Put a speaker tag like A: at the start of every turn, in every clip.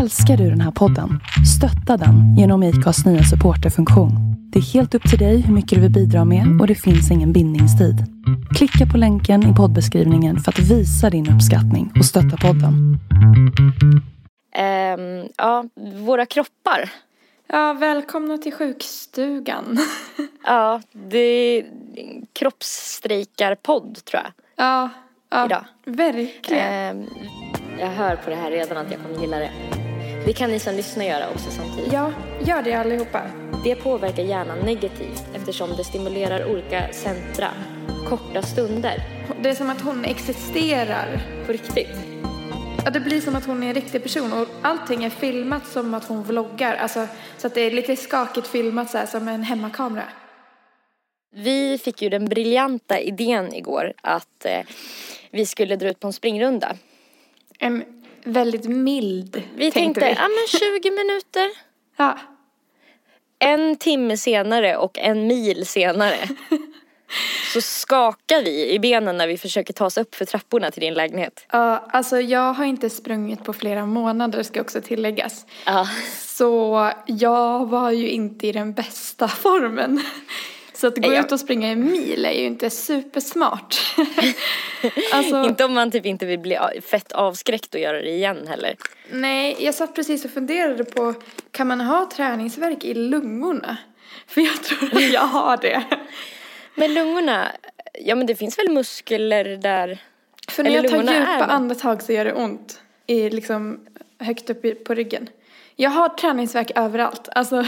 A: Älskar du den här podden? Stötta den genom IKAs nya supporterfunktion. Det är helt upp till dig hur mycket du vill bidra med och det finns ingen bindningstid. Klicka på länken i poddbeskrivningen för att visa din uppskattning och stötta podden.
B: Ehm, ja, våra kroppar.
C: Ja, välkomna till sjukstugan.
B: Ja, det är kroppsstrejkarpodd tror jag.
C: ja, ja,
B: Idag.
C: verkligen.
B: Ehm, jag hör på det här redan att jag kommer gilla det. Det kan ni som lyssnar göra också samtidigt.
C: Ja, gör det allihopa.
B: Det påverkar hjärnan negativt eftersom det stimulerar olika centra korta stunder.
C: Det är som att hon existerar.
B: På riktigt.
C: Ja, det blir som att hon är en riktig person och allting är filmat som att hon vloggar. Alltså, så att det är lite skakigt filmat så här, som en hemmakamera.
B: Vi fick ju den briljanta idén igår att eh, vi skulle dra ut på en springrunda.
C: En väldigt mild,
B: Vi tänkte, ja men 20 minuter.
C: Ja.
B: En timme senare och en mil senare så skakar vi i benen när vi försöker ta oss upp för trapporna till din lägenhet.
C: ja, alltså jag har inte sprungit på flera månader ska också tilläggas.
B: Ja.
C: Så jag var ju inte i den bästa formen. Så att gå
B: Nej, jag-
C: ut och springa en mil är ju inte supersmart. alltså,
B: Inte om man typ inte vill bli a- fett avskräckt och göra det igen heller.
C: nej, jag satt precis och funderade på, kan man ha träningsverk i lungorna? För jag tror att jag har det.
B: Men lungorna, ja men det finns väl muskler där?
C: För när
B: Eller
C: jag tar
B: lungorna är
C: djupa
B: det.
C: andetag så gör det ont. I, liksom, högt upp i- på ryggen. Jag har träningsverk överallt. Alltså,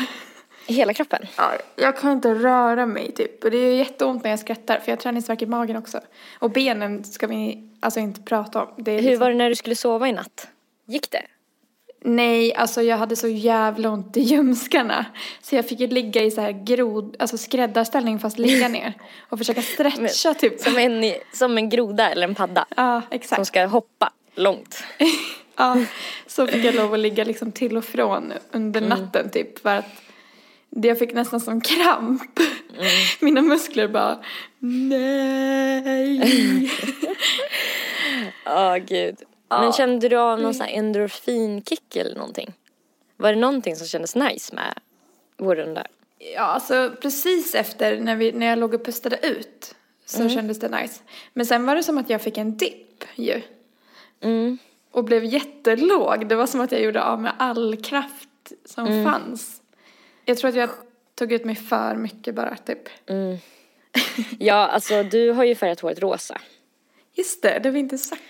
B: I hela kroppen?
C: Ja, jag kan inte röra mig typ. Och det är jätteont när jag skrattar för jag har träningsvärk i magen också. Och benen ska vi alltså inte prata om. Det är
B: Hur var det när du skulle sova i natt? Gick det?
C: Nej, alltså jag hade så jävla ont i ljumskarna. Så jag fick ju ligga i så här grod, alltså skräddarställning fast ligga ner. Och försöka stretcha typ.
B: Som en, som en groda eller en padda
C: Ja,
B: som
C: exakt.
B: ska hoppa långt.
C: Ja, så fick jag lov att ligga liksom till och från under
B: Mm.
C: natten typ. För att det- jag fick nästan som kramp.
B: Mm.
C: Mina muskler bara, nej.
B: Ja, Mm. gud. Men kände du av någon sån här endorfinkick eller någonting? Var det någonting som kändes nice med vår runda?
C: Ja, alltså precis efter när, vi, när jag låg och pustade ut så
B: Mm.
C: kändes det nice. Men sen var det som att jag fick en dipp ju.
B: Mm.
C: Och blev jättelåg. Det var som att jag gjorde av med all kraft som
B: Mm.
C: fanns. Jag tror att jag tog ut mig för mycket bara typ.
B: Mm. Ja, alltså du har ju färgat håret rosa.
C: Just det, det var inte sagt.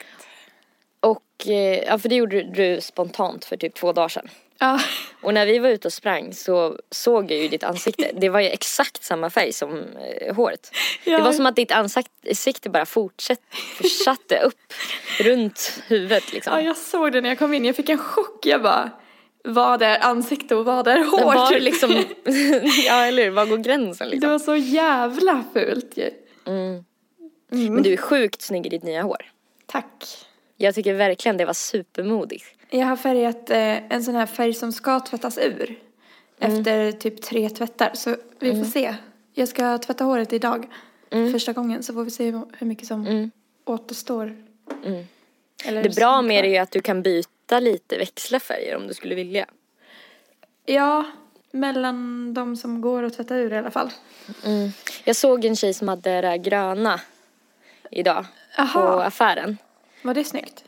B: Och, eh, ja för det gjorde du spontant för typ två dagar sedan.
C: Ja,
B: Och när vi var ute och sprang så såg jag ju ditt ansikte. Det var ju exakt samma färg som eh, håret.
C: Ja.
B: Det var som att ditt ansikte bara fortsatte, fortsatte upp runt huvudet liksom.
C: ja, jag såg det när jag kom in. Jag fick en chock. Jag bara, vad är ansikte och vad är hår?
B: Men var det
C: typ?
B: liksom, ja eller hur, var går gränsen
C: Det
B: liksom?
C: var så jävla fult ju.
B: Mm. Men du är sjukt snygg i ditt nya hår.
C: Tack.
B: Jag tycker verkligen det var supermodigt.
C: Jag har färgat eh, en sån här färg som ska tvättas ur.
B: Mm.
C: Efter typ tre tvättar. Så vi får se. Jag ska tvätta håret idag.
B: Mm.
C: Första gången. Så får vi se hur- hur mycket som återstår. Eller
B: Mm. Det bra
C: som
B: med det
C: kvar.
B: är ju att du kan byta lite, växla färger om du skulle vilja.
C: Ja, mellan de som går att tvätta ur i alla fall.
B: Mm. Jag såg en tjej som hade det där gröna idag på
C: Aha.
B: affären.
C: Var det snyggt?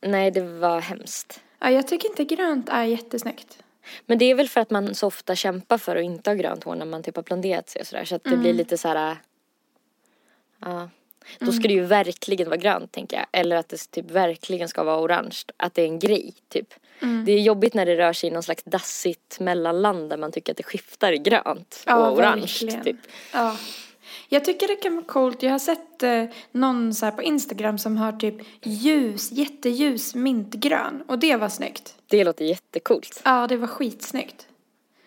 B: Nej, det var hemskt.
C: Ja, jag tycker inte grönt är jättesnyggt.
B: Men det är väl för att man så ofta kämpar för att inte ha grönt hår när man typ har blonderat sig och sådär. Så att det blir lite så här. äh, Ja. Då ska det ju verkligen vara grönt tänker jag. Eller att det typ verkligen ska vara orange. Att det är en grej typ. Det är jobbigt när det rör sig i någon slags dassigt mellanland där man tycker att det skiftar i grönt och orange
C: verkligen.
B: typ.
C: Ja. Jag tycker det kan vara coolt. Jag har sett eh, någon så här på Instagram som har typ ljus, jätteljus mintgrön. Och det var snyggt.
B: Det låter jättecoolt.
C: Ja, det var skitsnyggt.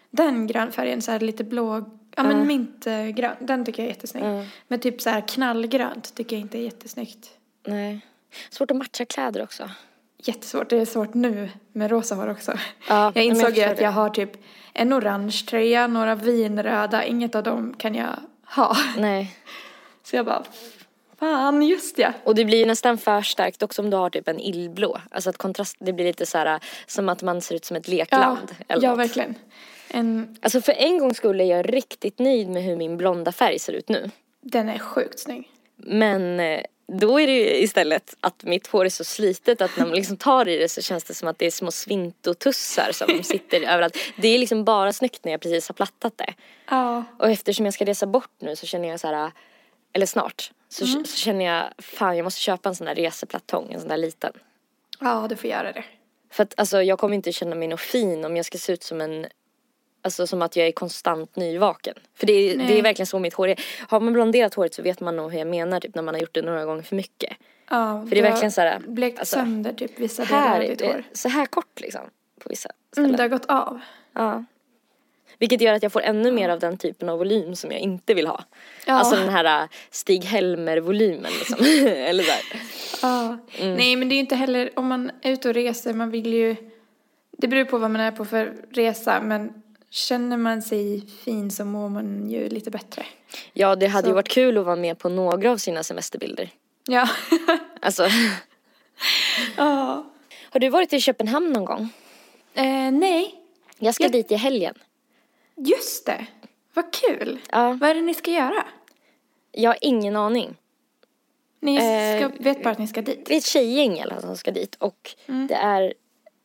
C: Den grönfärgen, så här lite blå, ja men mintgrön, den tycker jag är jättesnygg. Men typ så här knallgrönt tycker jag inte är jättesnyggt.
B: Nej. Svårt att matcha kläder också.
C: Jättesvårt, det är svårt nu med rosa hår också.
B: Ja,
C: jag
B: men jag
C: insåg ju
B: förstår
C: att
B: det.
C: jag har typ en orange tröja, några vinröda, inget av dem kan jag ha.
B: Nej.
C: Så jag bara, Fan, just ja.
B: Och det blir ju nästan för starkt också om du har typ en illblå. Alltså att kontrast, det blir lite så här som att man ser ut som ett
C: Ja,
B: lekland. eller
C: ja
B: något.
C: verkligen. En,
B: Alltså för en gång skulle jag riktigt nöjd med hur min blonda färg ser ut nu.
C: den är sjukt snygg.
B: Men eh, då är det ju istället att mitt hår är så slitet att när man liksom tar i det så känns det som att det är små svintotussar som sitter överallt. Det är liksom bara snyggt när jag precis har plattat det.
C: Ja,
B: Och eftersom jag ska resa bort nu så känner jag så här, eh, eller snart, så,
C: Mm.
B: så känner jag fan jag måste köpa en sån där reseplattong, en sån där liten.
C: ja du får göra det.
B: För att alltså jag kommer inte känna mig något fin om jag ska se ut som en Alltså som att jag är konstant nyvaken. För det är, det
C: Nej.
B: är verkligen så mitt hår är. Har man blonderat håret så vet man nog hur jag menar typ när man har gjort det några gånger för mycket.
C: Ja,
B: För det är verkligen så här,
C: Blekt
B: alltså,
C: sönder typ vissa delar av
B: Här,
C: ditt hår.
B: det, Mm. så här kort liksom. På vissa ställen.
C: Mm, det har gått av.
B: Ja. Vilket gör att jag får ännu mer av den typen av volym som jag inte vill ha.
C: Ja.
B: Alltså den här äh, Stig Helmer-volymen liksom. Eller där.
C: Ja. Mm. Nej, men det är ju inte heller, om man är ute och reser, man vill ju, det beror på vad man är på för resa, men känner man sig fin så mår man ju lite bättre.
B: Ja, det hade
C: Så.
B: ju varit kul att vara med på några av sina semesterbilder.
C: Ja.
B: Alltså,
C: ja.
B: har du varit i Köpenhamn någon gång?
C: Eh, nej,
B: Jag ska dit i helgen.
C: just det. Vad kul.
B: Ja.
C: Vad är det ni ska göra?
B: Jag har ingen aning.
C: Ni ska,
B: Eh,
C: vet bara att ni ska dit.
B: Det är ett tjejgäng eller något som ska dit och det är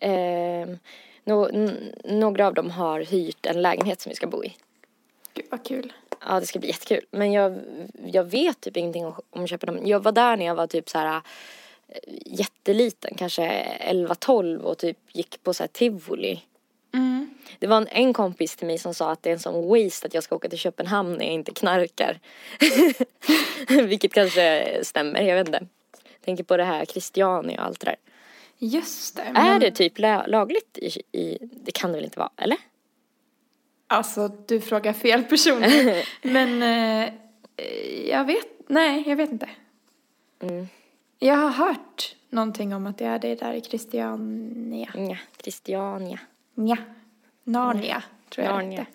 B: ehm, nå- n- några av dem har hyrt en lägenhet som vi ska bo i.
C: Gud, vad kul.
B: Ja, det ska bli jättekul. Men jag, jag vet typ ingenting om, om Köpenhamn. Jag var där när jag var typ så här eh, jätteliten, kanske 11-12 och typ gick på så här tivoli.
C: Mm.
B: Det var en, en kompis till mig som sa att det är en sån waste att jag ska åka till Köpenhamn när jag inte knarkar. Vilket kanske stämmer, jag vet inte. Tänker på det här Christiania och allt det där.
C: Just det.
B: Är det typ la- lagligt i, i... Det kan det väl inte vara, eller?
C: Alltså, du frågar fel person. Men eh, jag vet, nej, jag vet inte.
B: Mm.
C: Jag har hört någonting om att det är det där i Christiania.
B: Nja, Christiania.
C: Nja. Narnia, tror jag
B: Narnia.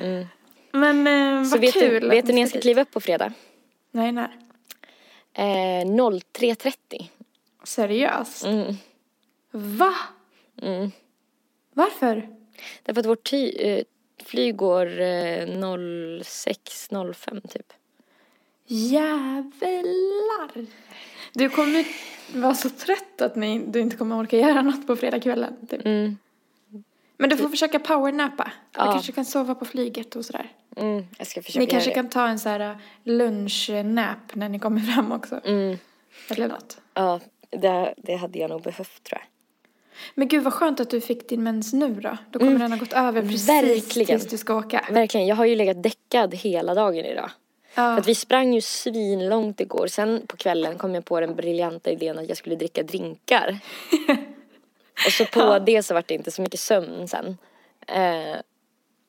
B: Mm.
C: det hette. Men eh,
B: Så
C: vad
B: vet
C: kul.
B: du,
C: att
B: vet du
C: ni
B: när jag ska
C: dit.
B: kliva upp på fredag?
C: Nej, nej.
B: Eh, 03.30.
C: Seriöst?
B: Mm.
C: Va?
B: Mm.
C: Varför?
B: Därför att vårt ty, eh, flyg går eh, 06.05 typ.
C: Jävlar! Du kommer vara så trött att ni, du inte kommer orka göra något på fredagskvällen. Typ.
B: Mm.
C: Men du får försöka powernappa. Du
B: Typ. Ja.
C: kanske kan sova på flyget och sådär.
B: Mm. Jag ska försöka
C: Ni
B: göra
C: kanske
B: det.
C: kan ta en så här äh, lunchnap när ni kommer fram också.
B: Mm.
C: Eller något.
B: Ja, det, det hade jag nog behövt tror jag.
C: Men gud vad skönt att du fick din mens nu då. Då kommer den ha gått över precis
B: Mm. Verkligen.
C: tills du ska åka.
B: Verkligen, jag har ju legat däckad hela dagen idag. För
C: Ja.
B: att vi sprang ju svinlångt igår. Sen på kvällen kom jag på den briljanta idén att jag skulle dricka drinkar. och så på det så var det inte så mycket sömn sen. Eh,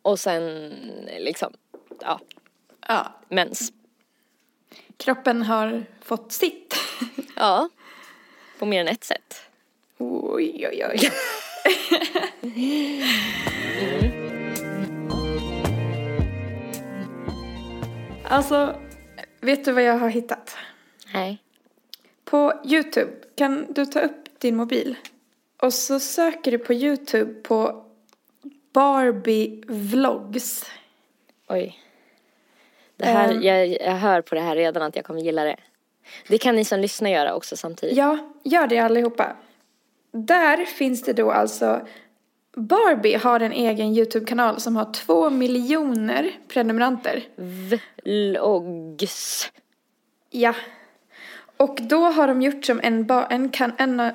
B: och sen liksom, ja,
C: Ja.
B: mens.
C: Kroppen har fått sitt.
B: Ja, på mer än ett sätt.
C: oj, oj, oj. alltså, vet du vad jag har hittat?
B: Nej.
C: På Youtube, kan du ta upp din mobil? Och så söker du på Youtube på Barbie vlogs.
B: Oj. Det här,
C: Ehm.
B: jag, jag hör på det här redan att jag kommer gilla det. Det kan ni som lyssnar göra också samtidigt.
C: Ja, gör det allihopa. Där finns det då alltså Barbie har en egen Youtube-kanal som har två miljoner prenumeranter.
B: Vlogs.
C: Ja. Och då har de gjort som en, ba- en, kan- en, eh,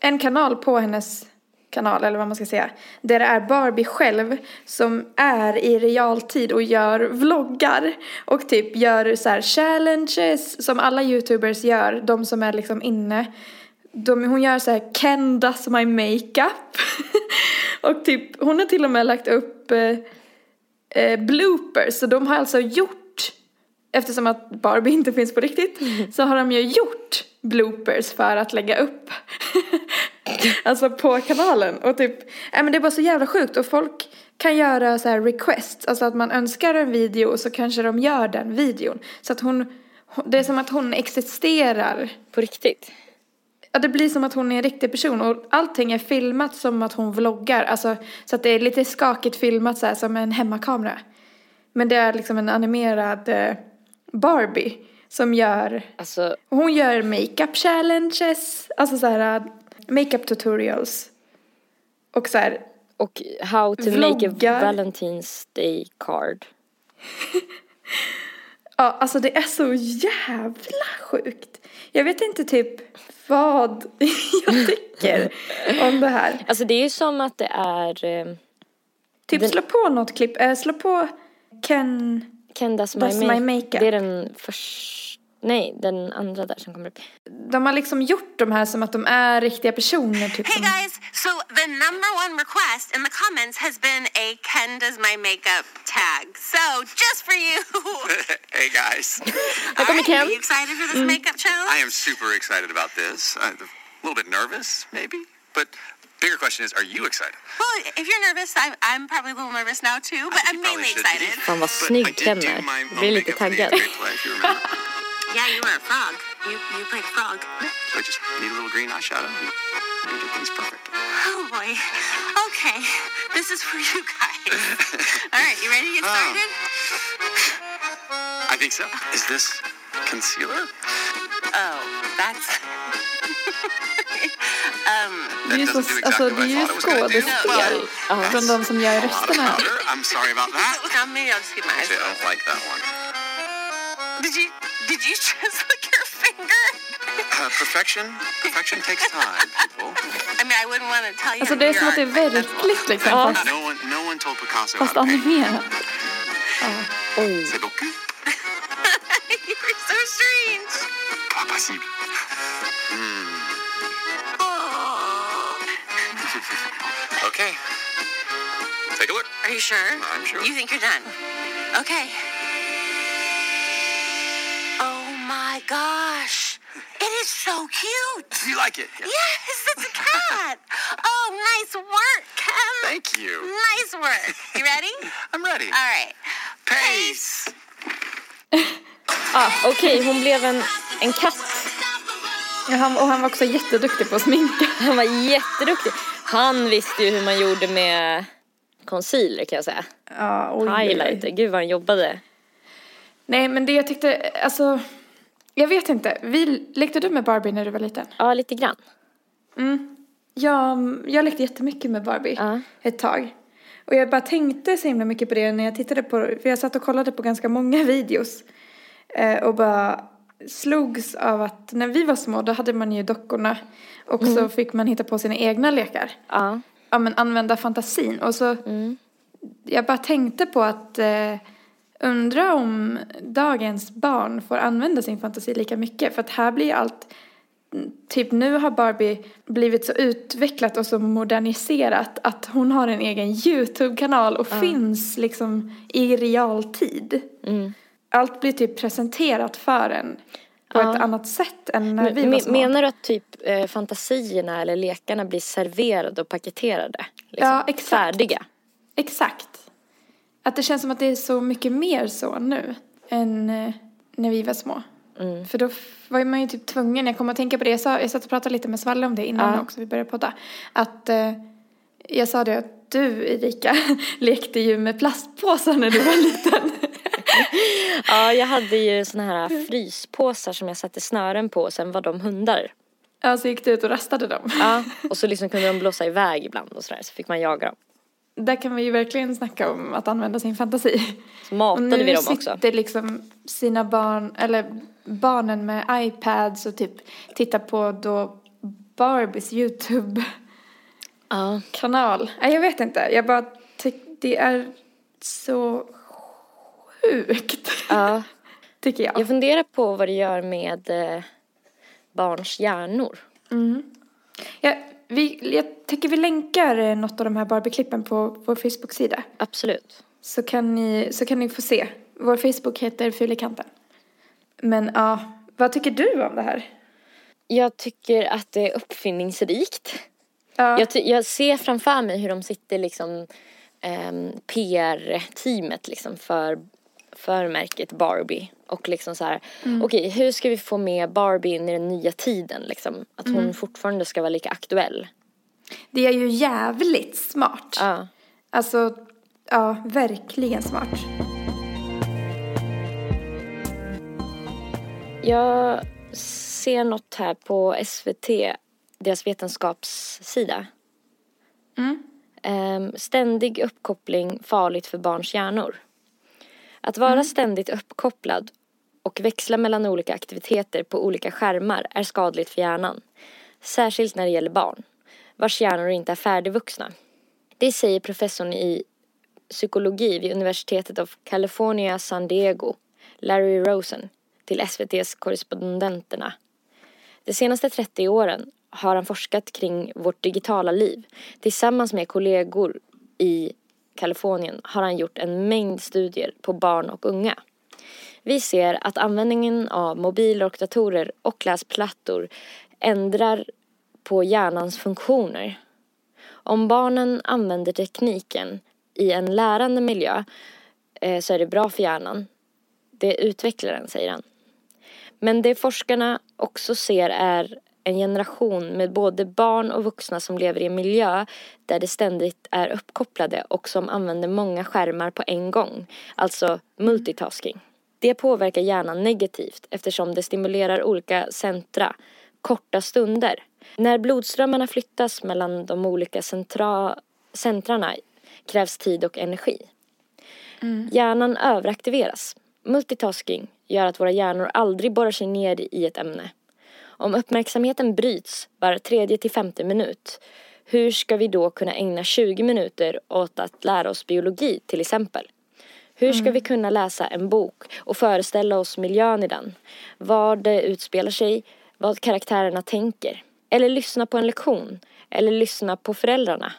C: en kanal på hennes kanal, eller vad man ska säga. Där det är Barbie själv som är i realtid och gör vloggar. Och typ gör så här challenges som alla youtubers gör, de som är liksom inne. De, hon gör så här Ken does my makeup. och typ, hon har till och med lagt upp eh, eh, bloopers. Så de har alltså gjort, eftersom att Barbie inte finns på riktigt, så har de ju gjort bloopers för att lägga upp. alltså på kanalen. Och typ, nej men det är bara så jävla sjukt. Och folk kan göra så här requests, alltså att man önskar en video och så kanske de gör den videon. Så att hon Det är som att hon existerar.
B: På riktigt.
C: Ja, det blir som att hon är en riktig person och allting är filmat som att hon vloggar. Alltså, så att det är lite skakigt filmat så här, som en hemmakamera. Men det är liksom en animerad eh, Barbie som gör...
B: Alltså,
C: Hon gör makeup challenges, alltså så här eh, makeup tutorials. Och så här,
B: och how to make a
C: Vloggar.
B: Valentine's Day card.
C: ja alltså det är så jävla sjukt. Jag vet inte typ vad jag tycker om det här.
B: Alltså det är ju som att det är eh,
C: Typ slå på något klipp. Eh, slå på Ken...
B: Ken That's, my,
C: That's
B: make.
C: My Makeup.
B: Det är den första, nej den andra där som kommer upp.
C: De har liksom gjort de här som att de är riktiga personer. Typ,
D: Hey
C: som-
D: guys, so the number one request in the comments has been a Ken does my makeup tag. So just for you.
E: hey guys,
D: All right,
B: Ken.
D: Are you excited for this makeup
E: I
D: challenge?
E: am super excited about this. I'm a little bit nervous, maybe, but bigger question is, are you excited?
D: Well, if you're nervous, I'm, I'm probably a little nervous now too, but I'm
E: you probably
D: mainly
E: should be.
D: excited.
B: Fan vad
E: But I
B: snygg
E: did
B: den
E: do
B: är.
E: my
B: Jag
E: own
B: blir lite
E: makeup for the
B: taggad.
E: eighth grade play, if you remember.
D: Yeah, you were a frog. You you played frog.
E: So I just need a little green eyeshadow and and get things perfect.
D: Oh boy. Okay, this is for you guys. All right, you ready to get
E: Oh.
D: started?
E: I think so. Is this concealer?
D: Oh, that's. um,
E: That
C: Det är ju så-
E: doesn't do
C: alltså,
E: exactly what
C: det
E: I
C: är ju
E: thought it was gonna do,
C: skådespel.
E: but
C: Från de som gör
E: a lot of
C: rösterna.
E: powder. I'm sorry about that.
D: now maybe I'll just keep my eyes
E: Actually, I don't like that one.
D: Did you did you just lick your finger?
E: Uh, perfection, perfection takes time, people.
D: I mean, I wouldn't want to tell you.
C: Alltså det är som att det är verkligt liksom. Fast,
E: No one, no one told Picasso
C: fast
E: how to paint.
C: animerat.
B: Oj.
E: C'est donc
D: You're so strange.
E: pas possible. Hmm.
D: Oh.
E: Okay, take a look.
D: Are you sure?
E: I'm sure.
D: You think you're done? Okay. Oh my gosh! It is so cute.
E: You like it? Yeah.
D: Yes, it's a cat. oh, nice work, Ken.
E: Thank you.
D: Nice work. You ready?
E: I'm ready.
D: All right.
E: Pace.
B: Ah, Okej, hon blev en, en katt.
C: Ja, Han, och han var också jätteduktig på att sminka.
B: Han var jätteduktig. Han visste ju hur man gjorde med concealer kan jag säga.
C: Ja, oj, oj, oj.
B: Highlighter, gud vad han jobbade.
C: Nej men det jag tyckte, alltså. Jag vet inte. Vi, lekte du med Barbie när du var liten?
B: Ja, lite grann.
C: Ja, mm, jag lekte jättemycket med Barbie
B: Ja.
C: ett tag. Och jag bara tänkte så himla mycket på det när jag tittade på, för jag satt och kollade på ganska många videos. Eh, och bara slogs av att när vi var små då hade man ju dockorna och så fick man hitta på sina egna lekar.
B: Mm. Ja.
C: Ja men använda fantasin och så
B: Mm.
C: jag bara tänkte på att eh, undra om dagens barn får använda sin fantasi lika mycket för att här blir allt typ nu har Barbie blivit så utvecklat och så moderniserat att hon har en egen YouTube-kanal och finns liksom i realtid.
B: Mm.
C: Allt blir typ presenterat för en på ett annat sätt än när vi var
B: Men-
C: små.
B: Menar du att typ eh, fantasierna eller lekarna blir serverade och paketerade? Liksom,
C: Ja, exakt.
B: Färdiga.
C: Exakt. Att det känns som att det är så mycket mer så nu än eh, när vi var små. För då f- var man ju typ tvungen, jag kommer att tänka på det, jag, sa, jag satt och pratade lite med Svalle om det innan också vi började podda. Att eh, jag sa det att du Erika lekte ju med plastpåsar när du var liten.
B: Ja, jag hade ju såna här fryspåsar som jag satte snören på och sen var de hundar.
C: Ja, så gick du ut och rastade dem.
B: Ja. Och så liksom kunde de blåsa iväg ibland och sådär så fick man jaga dem.
C: Där kan vi ju verkligen snacka om att använda sin fantasi.
B: Så matade
C: Och
B: vi dem
C: Nu
B: också.
C: sitter liksom sina barn, eller barnen med iPads och typ tittar på då Barbies YouTube-kanal.
B: Ja.
C: Nej, jag vet inte. Jag bara tycker det är så sjukt.
B: ja.
C: Tycker jag.
B: Jag funderar på vad det gör med eh, barns hjärnor.
C: Jag, vi, jag tycker vi länkar eh, något av de här Barbie-klippen på vår Facebook-sida.
B: Absolut.
C: Så kan ni, så kan ni få se. Vår Facebook heter Fulikanten. Men ja, vad tycker du om det här?
B: Jag tycker att det är uppfinningsrikt.
C: Ja.
B: Jag, ty- jag ser framför mig hur de sitter liksom ehm, PR-teamet liksom för för märket Barbie. Och liksom så här, okej hur ska vi få med Barbie in i den nya tiden liksom? Att hon fortfarande ska vara lika aktuell.
C: Det är ju jävligt smart.
B: Ja.
C: Alltså, ja, verkligen smart.
B: Jag ser något här på SVT, deras vetenskapssida. Ehm, ständig uppkoppling farligt för barns hjärnor. Att vara ständigt uppkopplad och växla mellan olika aktiviteter på olika skärmar är skadligt för hjärnan. Särskilt när det gäller barn, vars hjärnor inte är färdigvuxna. Det säger professorn i psykologi vid Universitetet of California San Diego, Larry Rosen, till SVTs Korrespondenterna. De senaste 30 åren har han forskat kring vårt digitala liv. Tillsammans med kollegor i Kalifornien har han gjort en mängd studier på barn och unga. Vi ser att användningen av mobiler och datorer och läsplattor ändrar på hjärnans funktioner. Om barnen använder tekniken i en lärande miljö eh, så är det bra för hjärnan. Det utvecklar den, säger han. Men det forskarna också ser är en generation med både barn och vuxna som lever i en miljö där de ständigt är uppkopplade och som använder många skärmar på en gång, alltså multitasking. Det påverkar hjärnan negativt eftersom det stimulerar olika centra korta stunder. När blodströmmarna flyttas mellan de olika centra, centrarna krävs tid och energi. Hjärnan överaktiveras. Multitasking gör att våra hjärnor aldrig borrar sig ner i ett ämne. Om uppmärksamheten bryts var tredje till femte minut, hur ska vi då kunna ägna 20 minuter åt att lära oss biologi till exempel? Hur ska vi kunna läsa en bok och föreställa oss miljön i den? Var det utspelar sig, vad karaktärerna tänker. Eller lyssna på en lektion, eller lyssna på föräldrarna.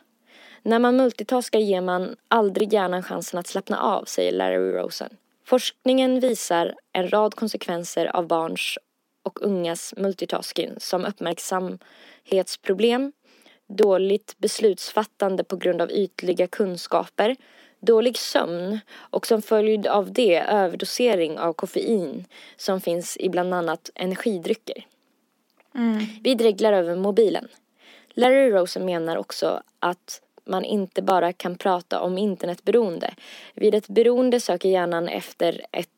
B: När man multitaskar ger man aldrig hjärnan chansen att slappna av, säger Larry Rosen. Forskningen visar en rad konsekvenser av barns och ungas multitasking som uppmärksamhetsproblem, dåligt beslutsfattande på grund av ytliga kunskaper, dålig sömn och som följd av det överdosering av koffein som finns i bland annat energidrycker. Vi dreglar över mobilen. Larry Rosen menar också att man inte bara kan prata om internetberoende. Vid ett beroende söker hjärnan efter ett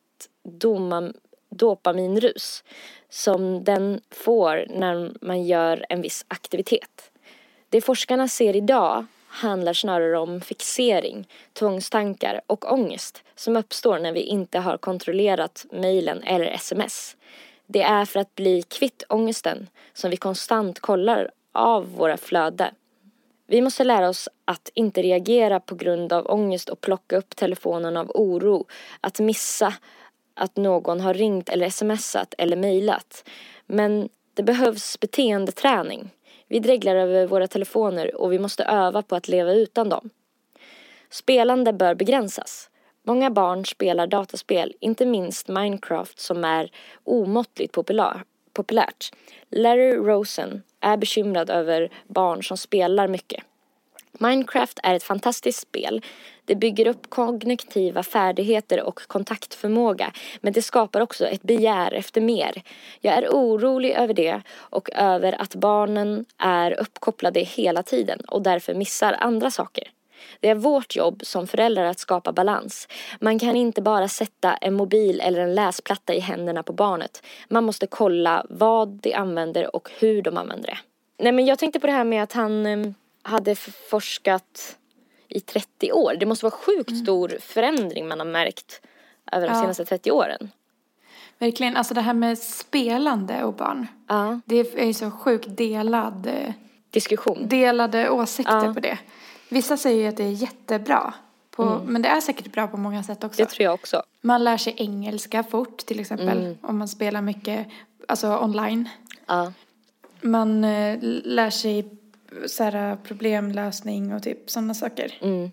B: doma- dopaminrus som den får när man gör en viss aktivitet. Det forskarna ser idag handlar snarare om fixering, tvångstankar och ångest som uppstår när vi inte har kontrollerat mejlen eller sms. Det är för att bli kvitt ångesten som vi konstant kollar av våra flöde. Vi måste lära oss att inte reagera på grund av ångest och plocka upp telefonen av oro, att missa att någon har ringt eller smsat eller mejlat. Men det behövs beteendeträning. Vi dreglar över våra telefoner och vi måste öva på att leva utan dem. Spelande bör begränsas. Många barn spelar dataspel, inte minst Minecraft som är omåttligt populär, populärt. Larry Rosen är bekymrad över barn som spelar mycket. Minecraft är ett fantastiskt spel. Det bygger upp kognitiva färdigheter och kontaktförmåga men det skapar också ett begär efter mer. Jag är orolig över det och över att barnen är uppkopplade hela tiden och därför missar andra saker. Det är vårt jobb som föräldrar att skapa balans. Man kan inte bara sätta en mobil eller en läsplatta i händerna på barnet. Man måste kolla vad de använder och hur de använder det. Nej men jag tänkte på det här med att han eh, hade f- forskat i 30 år. Det måste vara sjukt stor förändring man har märkt över de
C: Mm. Ja.
B: senaste 30 åren.
C: Verkligen, alltså det här med spelande och barn.
B: Ja.
C: Det är ju så sjukt delad, eh,
B: Diskussion.
C: delade åsikter
B: Ja.
C: på det. Vissa säger ju att det är jättebra. På, Men det är säkert bra på många sätt också.
B: Det tror Mm. Mm. jag också.
C: Man lär sig engelska fort till exempel. Om man spelar mycket alltså online.
B: Ja.
C: Man eh, lär sig så här, eh, problemlösning och typ sådana saker.
B: Mm.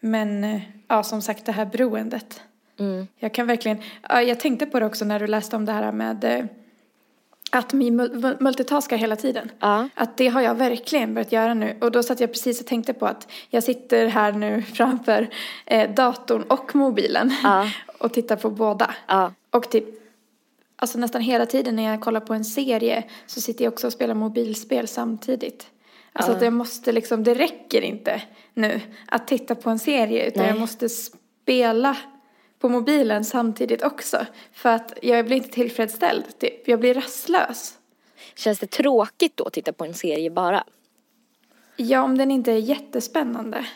C: Men eh, ja, som sagt det här beroendet.
B: Mm.
C: Jag kan verkligen, ja, jag tänkte på det också när du läste om det här med eh, att vi mul- multitaskar hela tiden.
B: Ja.
C: Att det har jag verkligen börjat göra nu. Och då satt jag precis och tänkte på att jag sitter här nu framför eh, datorn och mobilen
B: Ja.
C: och tittar på båda.
B: Ja.
C: Och typ, alltså nästan hela tiden när jag kollar på en serie så sitter jag också och spelar mobilspel samtidigt. Alltså att jag måste liksom, det räcker inte nu att titta på en serie utan
B: Nej.
C: jag måste spela på mobilen samtidigt också. För att jag blir inte tillfredsställd, typ. jag blir rastlös.
B: Känns det tråkigt då att titta på en serie bara?
C: Ja, om den inte är jättespännande.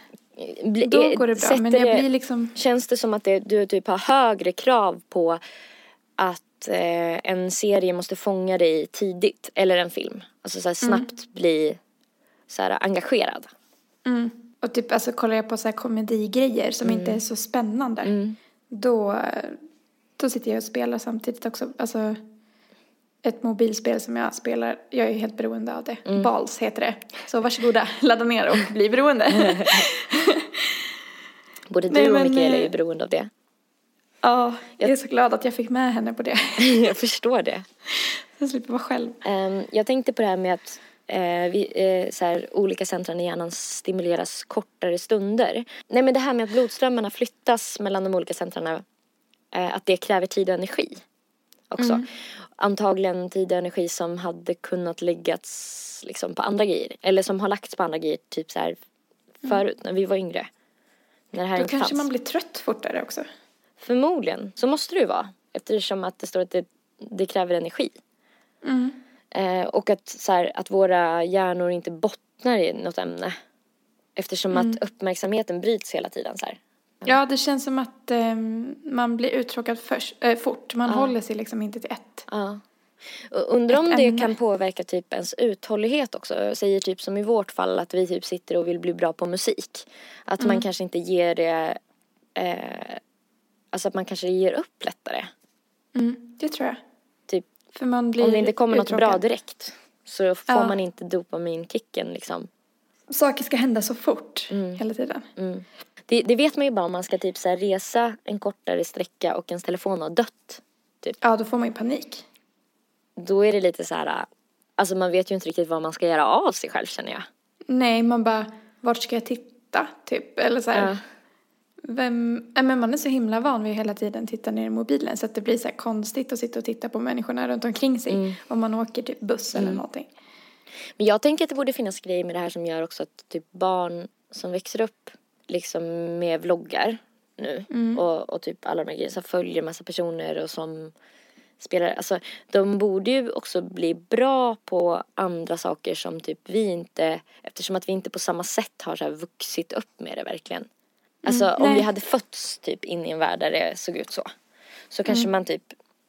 B: Bli-
C: Då
B: eh,
C: går det bra,
B: sätter
C: men jag
B: det-
C: blir liksom-
B: Känns det som att det, du typ har högre krav på att eh, en serie måste fånga dig tidigt, eller en film? Alltså så här
C: Mm.
B: snabbt bli så här engagerad.
C: Och typ, alltså kollar jag på så här komedigrejer som
B: Mm.
C: inte är så spännande. Då, då sitter jag och spelar samtidigt också. Alltså, ett mobilspel som jag spelar, jag är ju helt beroende av det.
B: Mm.
C: Balls heter det. Så varsågoda, ladda ner och bli beroende.
B: Både
C: Nej,
B: du och
C: men,
B: Mikaela är
C: eh,
B: ju beroende av det.
C: ja, jag är så glad att jag fick med henne på det.
B: jag förstår det.
C: Jag slipper vara själv.
B: Ehm, jag tänkte på det här med att eh, vi, eh, så här, olika centran i hjärnan stimuleras kortare stunder. Nej men det här med att blodströmmarna flyttas mellan de olika centrarna, eh, att det kräver tid och energi också.
C: Mm.
B: Antagligen tid och energi som hade kunnat läggas liksom, på andra grejer. Eller som har lagts på andra grejer typ så här förut när vi var yngre. När det här
C: Mm. Då
B: inte
C: kanske
B: fanns.
C: man blir trött fortare också.
B: Förmodligen, så måste det ju vara. Eftersom att det står att det, det kräver energi.
C: Mm.
B: Eh, och att, så här, att våra hjärnor inte bottnar i något ämne. Eftersom
C: Mm.
B: att uppmärksamheten bryts hela tiden. Så här.
C: Ja, det känns som att ehm, man blir uttråkad först, eh, fort. Man håller sig liksom inte till ett.
B: Ja. Och Undrar om
C: Ett
B: det
C: ämne.
B: kan påverka typ ens uthållighet också. Jag säger typ som i vårt fall att vi typ sitter och vill bli bra på musik. Att
C: Mm.
B: man kanske inte ger det, eh, alltså att man kanske ger upp lättare.
C: Mm, det tror jag.
B: Typ
C: För man blir
B: Om det inte kommer något
C: uttråkad.
B: bra direkt så får
C: Ja.
B: man inte dopaminkicken liksom.
C: saker ska hända så fort
B: Mm.
C: hela tiden.
B: Det, det vet man ju bara om man ska typ så här resa en kortare sträcka och ens telefon har dött.
C: Ja, då får man ju panik.
B: Då är det lite så här, alltså man vet ju inte riktigt vad man ska göra av sig själv känner jag.
C: Nej, man bara, vart ska jag titta? Typ, eller så här.
B: Ja.
C: Vem, ja, men man är så himla van vid att hela tiden titta ner i mobilen så att det blir så här konstigt att sitta och titta på människorna runt omkring sig
B: Mm.
C: om man åker typ buss eller någonting.
B: Men jag tänker att det borde finnas grejer med det här som gör också att typ barn som växer upp liksom med vloggar nu och, och typ alla de här grejerna som följer massa personer och som spelar, alltså de borde ju också bli bra på andra saker som typ vi inte, eftersom att vi inte på samma sätt har så här vuxit upp med det verkligen. Alltså om vi
C: nej.
B: hade fötts typ in i en värld där det såg ut så. Så kanske
C: Mm.
B: man typ,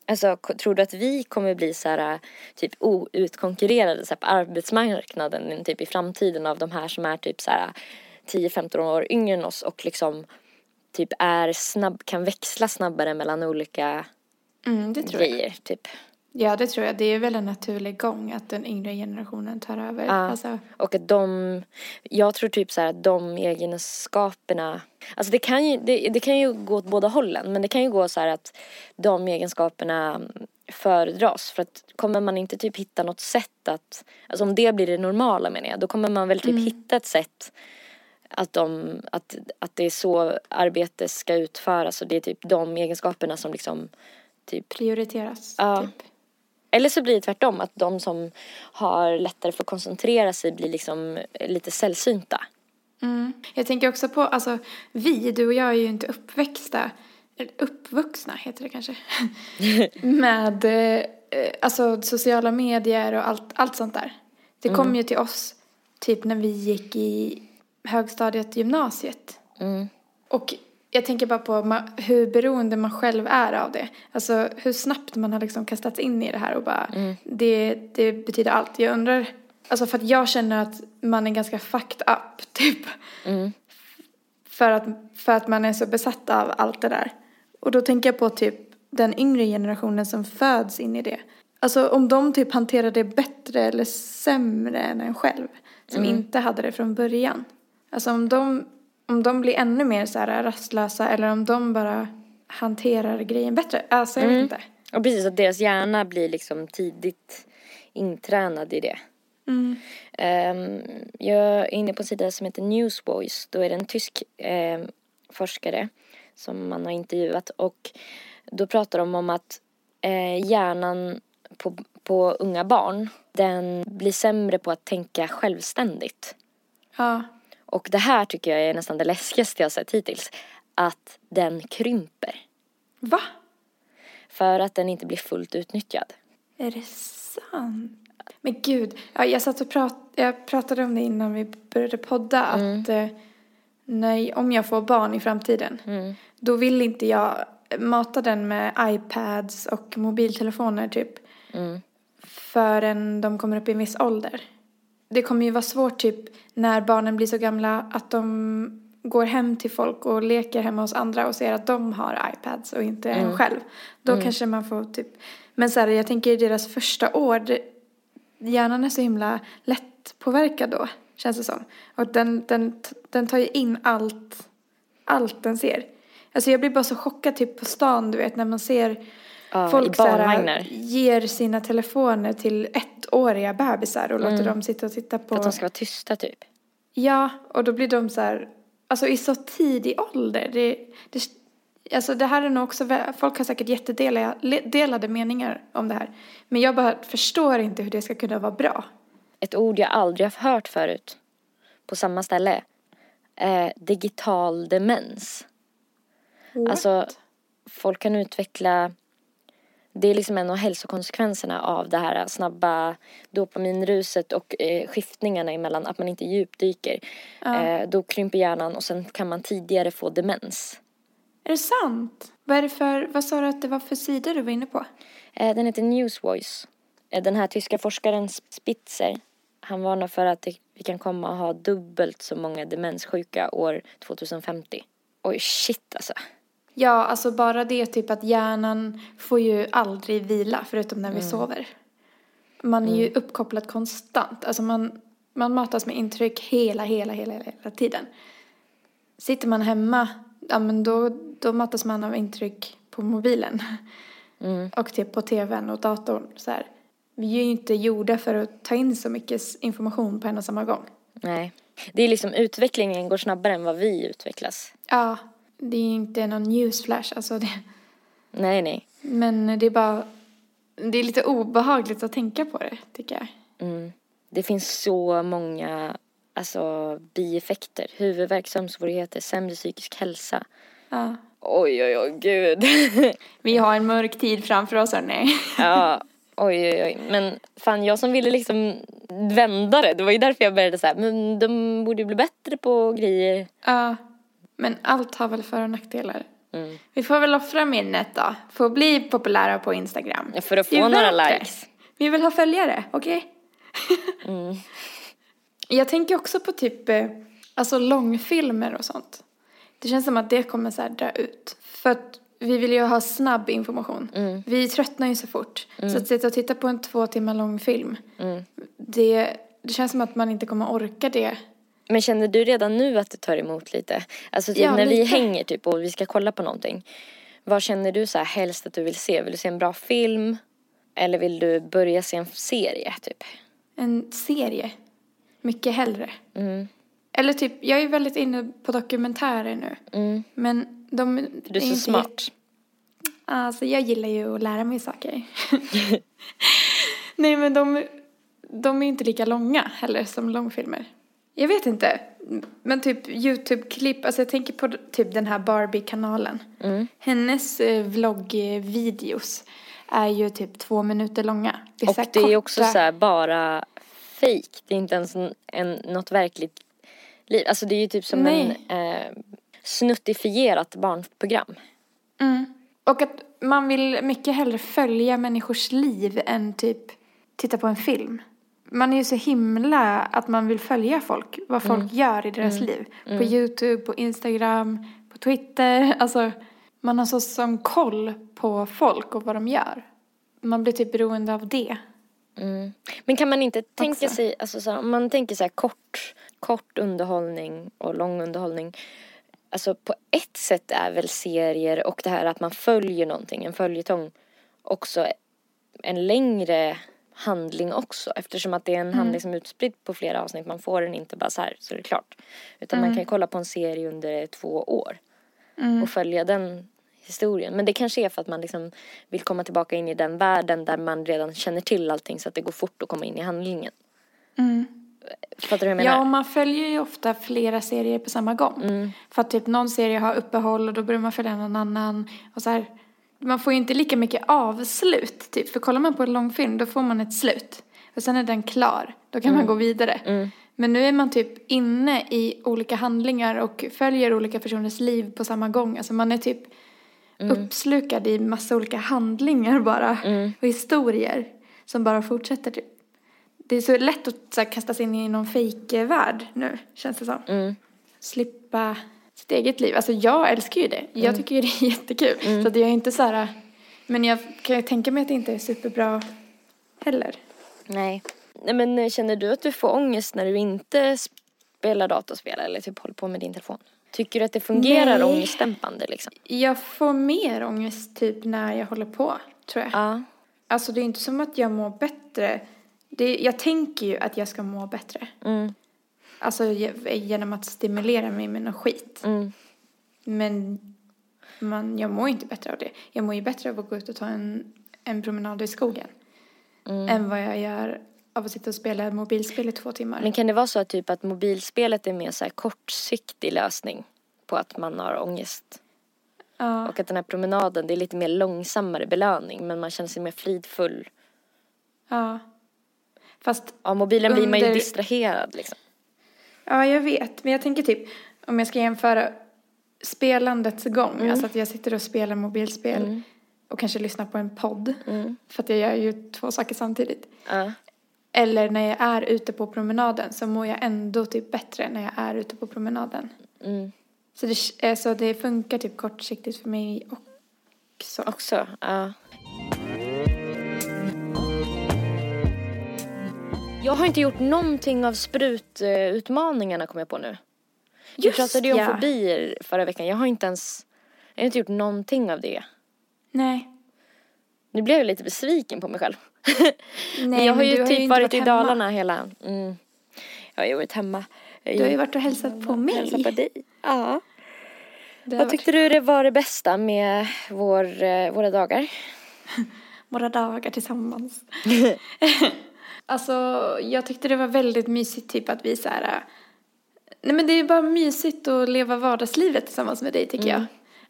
B: alltså k- tror du att vi kommer bli så här äh, typ outkonkurrerade så här, på arbetsmarknaden typ i framtiden av de här som är typ så här 10-15 år yngre än oss och liksom typ är snabb, kan växla snabbare mellan olika
C: Mm, det tror jag.
B: grejer typ.
C: Ja, det tror jag. Det är väl en naturlig gång att den yngre generationen tar över. Alltså,
B: Och att de, jag tror typ så här att de egenskaperna, alltså det kan ju, det, det kan ju gå åt båda hållen men det kan ju gå så här att de egenskaperna föredras för att kommer man inte typ hitta något sätt att, alltså om det blir det normala menar jag, då kommer man väl typ hitta ett sätt att, de, att, att det är så arbete ska utföras och det är typ de egenskaperna som liksom typ
C: prioriteras.
B: Ja.
C: Typ.
B: eller så blir det tvärtom, att de som har lättare för att koncentrera sig blir liksom lite sällsynta.
C: Mm. Jag tänker också på, alltså vi, du och jag är ju inte uppväxta, eller uppvuxna heter det kanske, med eh, eh, alltså sociala medier och allt, allt sånt där. Det kom ju till oss typ när vi gick i högstadiet, gymnasiet. Och jag tänker bara på ma- hur beroende man själv är av det. Alltså hur snabbt man har liksom kastats in i det här och bara det, det betyder allt. Jag undrar, alltså för att jag känner att man är ganska fucked up typ. För, att, för att man är så besatt av allt det där. Och då tänker jag på typ den yngre generationen som föds in i det. Alltså om de typ hanterar det bättre eller sämre än en själv. Som inte hade det från början. Alltså om de, om de blir ännu mer så här rastlösa eller om de bara hanterar grejen bättre. Alltså jag vet inte.
B: Och precis, att deras hjärna blir liksom tidigt intränad i det. Ehm, jag är inne på en sida som heter Newsboys. Då är det en tysk ehm, forskare som man har intervjuat och då pratar de om att eh, hjärnan på, på unga barn den blir sämre på att tänka självständigt.
C: Ja.
B: Och det här tycker jag är nästan det läskigaste jag sett hittills. Att den krymper.
C: Va?
B: För att den inte blir fullt utnyttjad.
C: Är det sant? Men gud, ja, jag satt och prat, jag pratade om det innan vi började podda att eh, när, om jag får barn i framtiden då vill inte jag mata den med iPads och mobiltelefoner typ förrän de kommer upp i en viss ålder. Det kommer ju vara svårt typ när barnen blir så gamla att de går hem till folk och leker hemma hos andra och ser att de har iPads och inte
B: Mm.
C: en själv. Då kanske man får typ, men så här, jag tänker i deras första år, det, hjärnan är så himla lättpåverkad då, känns det som. Och den, den, den tar ju in allt, allt den ser. Alltså jag blir bara så chockad typ på stan, du vet, när man ser
B: Ja, i
C: folk så här,
B: barnvagnar.
C: ger sina telefoner till ettåriga bebisar och låter dem sitta och titta på...
B: För Mm. att de ska vara tysta typ.
C: Ja, och då blir de så här, alltså i så tidig ålder. Det, det, alltså det här är nog också, vä- folk har säkert jättedelade meningar om det här. Men jag bara förstår inte hur det ska kunna vara bra.
B: Ett ord jag aldrig har hört förut. På samma ställe. Eh, digital demens. Alltså, folk kan utveckla... Det är liksom en av hälsokonsekvenserna av det här snabba dopaminruset och eh, skiftningarna emellan, att man inte djupdyker. Eh, då krymper hjärnan och sen kan man tidigare få demens.
C: Är det sant? Vad är det för, vad sa du att det var för sidor du var inne på?
B: Eh, den heter Newsvoice. Eh, den här tyska forskaren Spitzer, han varnar för att det, vi kan komma att ha dubbelt så många demenssjuka år 2050. Oj, shit alltså.
C: Ja, alltså bara det typ att hjärnan får ju aldrig vila förutom när vi sover. Man är ju uppkopplad konstant. Alltså man, man matas med intryck hela, hela, hela, hela tiden. Sitter man hemma, ja men då, då matas man av intryck på mobilen. Och typ på tvn och datorn så här. Vi är ju inte gjorda för att ta in så mycket s- information på en och samma gång.
B: Nej. Det är liksom utvecklingen går snabbare än vad vi utvecklas.
C: Ja, det är ju inte någon newsflash, alltså det...
B: Nej, nej.
C: Men det är bara, det är lite obehagligt att tänka på det tycker jag.
B: Mm. Det finns så många alltså, bieffekter. Huvudvärk, sömnsvårigheter, sämre psykisk hälsa.
C: Ja.
B: Oj, oj, oj, gud.
C: Vi har en mörk tid framför oss hörni.
B: ja, oj, oj, oj. Men fan, jag som ville liksom vända det. Det var ju därför jag började så här, men de borde ju bli bättre på grejer.
C: Ja. Men allt har väl för och nackdelar.
B: Mm.
C: Vi får väl offra minnet då. För att bli populära på Instagram.
B: Ja, för att
C: Det är
B: få några
C: värt det.
B: likes. Mm.
C: Vi vill ha följare, okej? Jag tänker också på typ eh, alltså långfilmer och sånt. Det känns som att det kommer så här dö ut. För att vi vill ju ha snabb information.
B: Mm.
C: Vi tröttnar ju så fort. Så att sitta och titta på en två timmar lång film.
B: Mm.
C: Det, det känns som att man inte kommer orka det.
B: Men känner du redan nu att det tar emot lite? Alltså typ
C: Ja,
B: när vi
C: lite.
B: hänger typ och vi ska kolla på någonting. Vad känner du så här helst att du vill se? Vill du se en bra film? Eller vill du börja se en serie typ?
C: En serie. Mycket hellre.
B: Mm.
C: Eller typ, jag är väldigt inne på dokumentärer nu. Men de
B: För Mm. du är så
C: inte
B: smart.
C: Alltså jag gillar ju att lära mig saker. Nej men de, de är ju inte lika långa heller som långfilmer. Jag vet inte. Men typ YouTube-klipp, alltså jag tänker på d- typ den här Barbie-kanalen.
B: Mm.
C: Hennes eh, vloggvideos är ju typ två minuter långa. Det
B: Och
C: så här
B: det är också
C: korta-
B: så här bara fejk. Det är inte ens en, en, något verkligt liv. Alltså det är ju typ som
C: Nej.
B: en eh, snuttifierat barnprogram.
C: Mm. Och att man vill mycket hellre följa människors liv än typ titta på en film. Man är ju så himla att man vill följa folk, vad folk gör i deras liv. På YouTube, på Instagram, på Twitter. Alltså, man har så som koll på folk och vad de gör. Man blir typ beroende av det.
B: Mm. Men kan man inte tänka
C: Också.
B: sig, alltså så här, om man tänker så här kort, kort underhållning och lång underhållning. Alltså på ett sätt är väl serier och det här att man följer någonting, en följetong, också en längre handling också eftersom att det är en handling som är utspridd på flera avsnitt. Man får den inte bara så här så är det klart. Utan man kan ju kolla på en serie under två år
C: Mm.
B: och följa den historien. Men det kanske är för att man liksom vill komma tillbaka in i den världen där man redan känner till allting så att det går fort att komma in i handlingen. Fattar du hur jag menar?
C: Mm.
B: Mm.
C: Ja, och man följer ju ofta flera serier på samma gång. För att typ någon serie har uppehåll och då börjar man följa någon annan. Och så här, man får ju inte lika mycket avslut typ. För kollar man på en långfilm då får man ett slut. Och sen är den klar. Då
B: Mm.
C: kan man gå vidare. Men nu är man typ inne i olika handlingar och följer olika personers liv på samma gång. Alltså man är typ
B: Mm.
C: uppslukad i massa olika handlingar bara. Och historier som bara fortsätter typ. Det är så lätt att så här, kastas in i någon fejkvärld nu, känns det som. Slippa sitt eget liv. Alltså jag älskar ju det. Jag tycker ju det är jättekul. Så att jag är inte så här, men jag kan ju tänka mig att det inte är superbra heller.
B: Nej. Nej men eh, känner du att du får ångest när du inte spelar datorspel eller typ håller på med din telefon? Tycker du att det fungerar
C: Nej.
B: ångestdämpande liksom?
C: Jag får mer ångest typ när jag håller på, tror jag.
B: Ja.
C: Alltså det är inte som att jag mår bättre. Det, jag tänker ju att jag ska må bättre.
B: Mm.
C: Alltså ge- genom att stimulera mig med något skit.
B: Mm.
C: Men man, jag mår ju inte bättre av det. Jag mår ju bättre av att gå ut och ta en, en promenad i skogen.
B: Mm.
C: Än vad jag gör av att sitta och spela mobilspel i två timmar.
B: Men kan det vara så att typ att mobilspelet är mer så här kortsiktig lösning på att man har ångest?
C: ja.
B: Och att den här promenaden, det är lite mer långsammare belöning men man känner sig mer fridfull.
C: ja. Fast
B: Av mobilen blir man ju
C: Under-
B: distraherad liksom.
C: Ja, jag vet. Men jag tänker typ, om jag ska jämföra spelandets gång,
B: Mm.
C: alltså att jag sitter och spelar mobilspel och kanske lyssnar på en podd,
B: Mm.
C: för att jag gör ju två saker samtidigt.
B: Ja.
C: Eller när jag är ute på promenaden så mår jag ändå typ bättre när jag är ute på promenaden.
B: Mm.
C: Så det, eh, så det funkar typ kortsiktigt för mig också.
B: Också, ja. Jag har inte gjort någonting av sprututmaningarna kom jag på nu. Vi
C: Just
B: pratade ju om
C: ja.
B: fobier förra veckan. Jag har inte ens, jag har inte gjort någonting av det.
C: Nej.
B: Nu blev jag lite besviken på mig själv.
C: Nej,
B: men jag har
C: men
B: ju
C: du har
B: typ
C: ju inte
B: varit,
C: varit
B: i
C: hemma.
B: Dalarna hela... Mm. Jag har ju varit hemma.
C: Du har ju varit och hälsat på mig.
B: Hälsat på dig. Ja.
C: Det har
B: Vad
C: varit
B: tyckte du det var det bästa med vår, eh, våra dagar?
C: våra dagar tillsammans. alltså, jag tyckte det var väldigt mysigt typ att vi så här... äh, Nej men det är bara mysigt att leva vardagslivet tillsammans med dig
B: Mm.
C: tycker jag.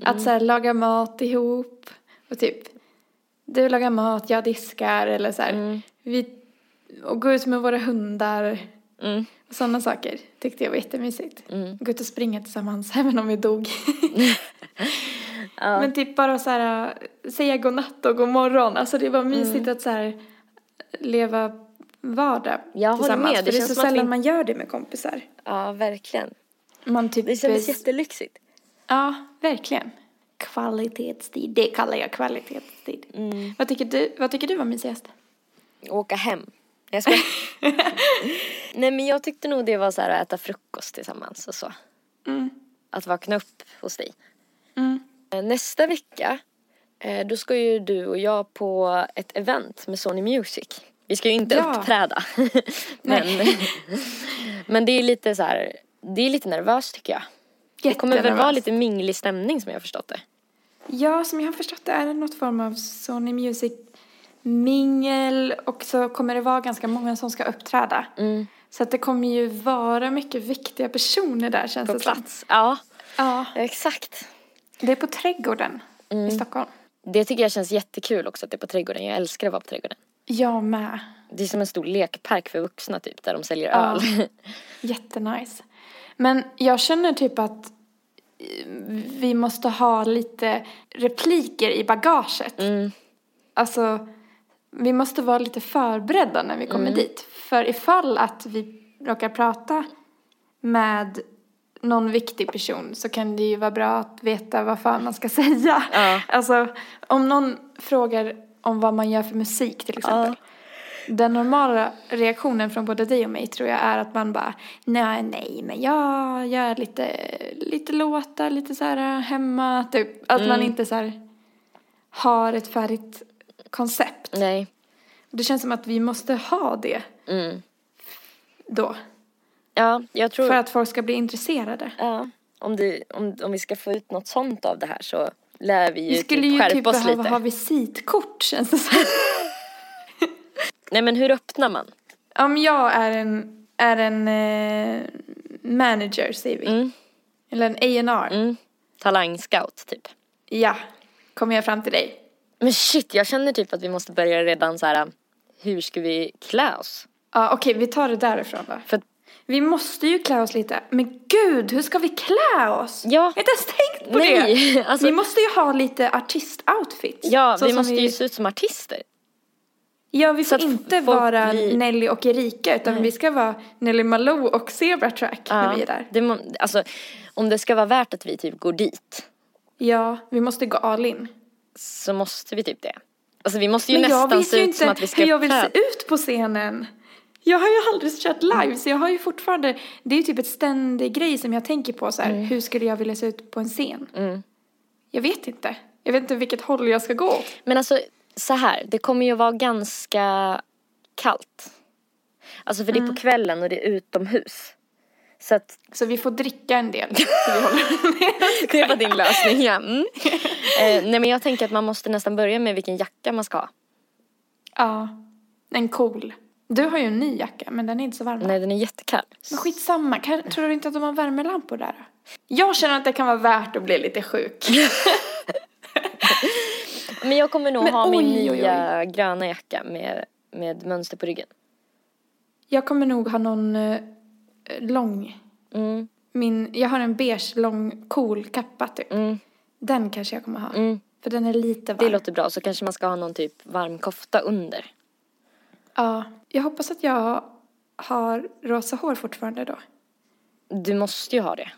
C: Att så här, laga mat ihop och typ du lagar mat, jag diskar eller så här. Vi, och gå ut med våra hundar.
B: Mm.
C: Och sådana saker tyckte jag var jättemysigt. Gå ut och springa tillsammans även om vi dog. Men typ bara så här, äh, säga godnatt och god morgon. Alltså det var mysigt
B: Mm.
C: att så här, leva vardag
B: Jag håller
C: tillsammans.
B: med.
C: För
B: Det
C: det, är
B: känns
C: så
B: som att vi-
C: sällan man gör det med kompisar.
B: Ja, verkligen.
C: Man typ...
B: Det kändes
C: eh,
B: jättelyxigt.
C: Ja, verkligen. Kvalitetstid, det kallar jag kvalitetstid. Vad, tycker du, vad tycker du var mysigast?
B: Åka hem. Jag skojar. Nej men jag tyckte nog det var så här att äta frukost tillsammans och så.
C: Mm.
B: Att vakna upp hos dig.
C: Mm.
B: Eh, Nästa vecka, eh, då ska ju du och jag på ett event med Sony Music. Vi ska ju inte
C: Ja.
B: uppträda. men, men det är lite så här, det är lite nervöst tycker jag. Det kommer väl vara
C: Jättenervös.
B: lite minglig stämning som jag har förstått det.
C: Ja, som jag har förstått det är det något form av Sony Music mingel och så kommer det vara ganska många som ska uppträda. Så att det kommer ju vara mycket viktiga personer där känns
B: På
C: det som.
B: plats. Ja,
C: Ja,
B: exakt.
C: det är på Trädgården i Stockholm.
B: Det tycker jag känns jättekul också att det är på trädgården. Jag älskar att vara på trädgården.
C: Jag med.
B: Det är som en stor lekpark för vuxna typ där de säljer
C: Ja.
B: öl.
C: Jättenice. Men jag känner typ att eh, vi måste ha lite repliker i bagaget. Alltså, vi måste vara lite förberedda när vi kommer dit. För ifall att vi råkar prata med någon viktig person så kan det ju vara bra att veta vad fan man ska säga.
B: Ja.
C: Alltså, om någon frågar om vad man gör för musik till exempel. Den normala reaktionen från både dig och mig tror jag är att man bara nej, nej, men jag gör lite, lite låtar, lite så här äh, hemma, typ. Att man inte så här har ett färdigt koncept.
B: Nej.
C: Det känns som att vi måste ha det.
B: Mm.
C: Då.
B: Ja, jag tror...
C: För att folk ska bli intresserade.
B: Ja, om, det, om, om vi ska få ut något sånt av det här så lär vi ju
C: Vi skulle
B: typ
C: ju
B: skärpa
C: typ
B: oss
C: behöva
B: lite.
C: ha visitkort känns det som.
B: Nej men hur öppnar man?
C: Om jag är en, är en eh, manager säger vi.
B: Mm.
C: Eller en A&R.
B: Mm. Talangscout typ.
C: Ja, kommer jag fram till dig.
B: Men shit, jag känner typ att vi måste börja redan så här. hur ska vi klä oss?
C: Ja, okej, vi tar det därifrån då.
B: För att-
C: Vi måste ju klä oss lite. Men gud, hur ska vi klä oss?
B: Ja.
C: Jag har inte ens tänkt på
B: Nej,
C: det.
B: alltså-
C: Vi måste ju ha lite artistoutfits.
B: Ja,
C: Så
B: vi
C: som
B: måste ju se ut som artister.
C: Ja, vi
B: så
C: får
B: att
C: inte
B: folk
C: vara
B: blir-
C: Nelly och Erika utan vi ska vara Nelly Malou och Zebra Track när vi är där.
B: Det, må- alltså, om det ska vara värt att vi typ går dit
C: Ja, vi måste gå all in.
B: så måste vi typ det. Alltså vi måste ju
C: Men jag
B: nästan
C: vet
B: se
C: ju
B: ut som
C: inte
B: att vi ska
C: hur jag vill
B: klä-
C: se ut på scenen. Jag har ju aldrig kört live så jag har ju fortfarande, det är ju typ ett ständig grej som jag tänker på så här,
B: Mm.
C: hur skulle jag vilja se ut på en scen? Jag vet inte. Jag vet inte vilket håll jag ska gå åt.
B: Men alltså så här, det kommer ju vara ganska kallt. Alltså för
C: Mm.
B: det är på kvällen och det är utomhus. Så att
C: Så vi får dricka en del.
B: det var din lösning ja. Mm. Eh, nej men jag tänker att man måste nästan börja med vilken jacka man ska ha.
C: ja, en cool. Du har ju en ny jacka men den är inte så varm.
B: Nej den är jättekall.
C: Men skitsamma, kan, tror du inte att de har värmelampor där? då? Jag känner att det kan vara värt att bli lite sjuk.
B: Men jag kommer nog
C: Men
B: ha min
C: oj, oj, oj.
B: nya gröna jacka med, med mönster på ryggen.
C: Jag kommer nog ha någon eh, lång.
B: Mm.
C: Min, jag har en beige lång cool kappa typ.
B: Mm.
C: Den kanske jag kommer ha.
B: Mm.
C: För den är lite
B: Det
C: varm.
B: låter bra. Så kanske man ska ha någon typ varm kofta under.
C: Ja. Jag hoppas att jag har rosa hår fortfarande då.
B: Du måste ju ha det.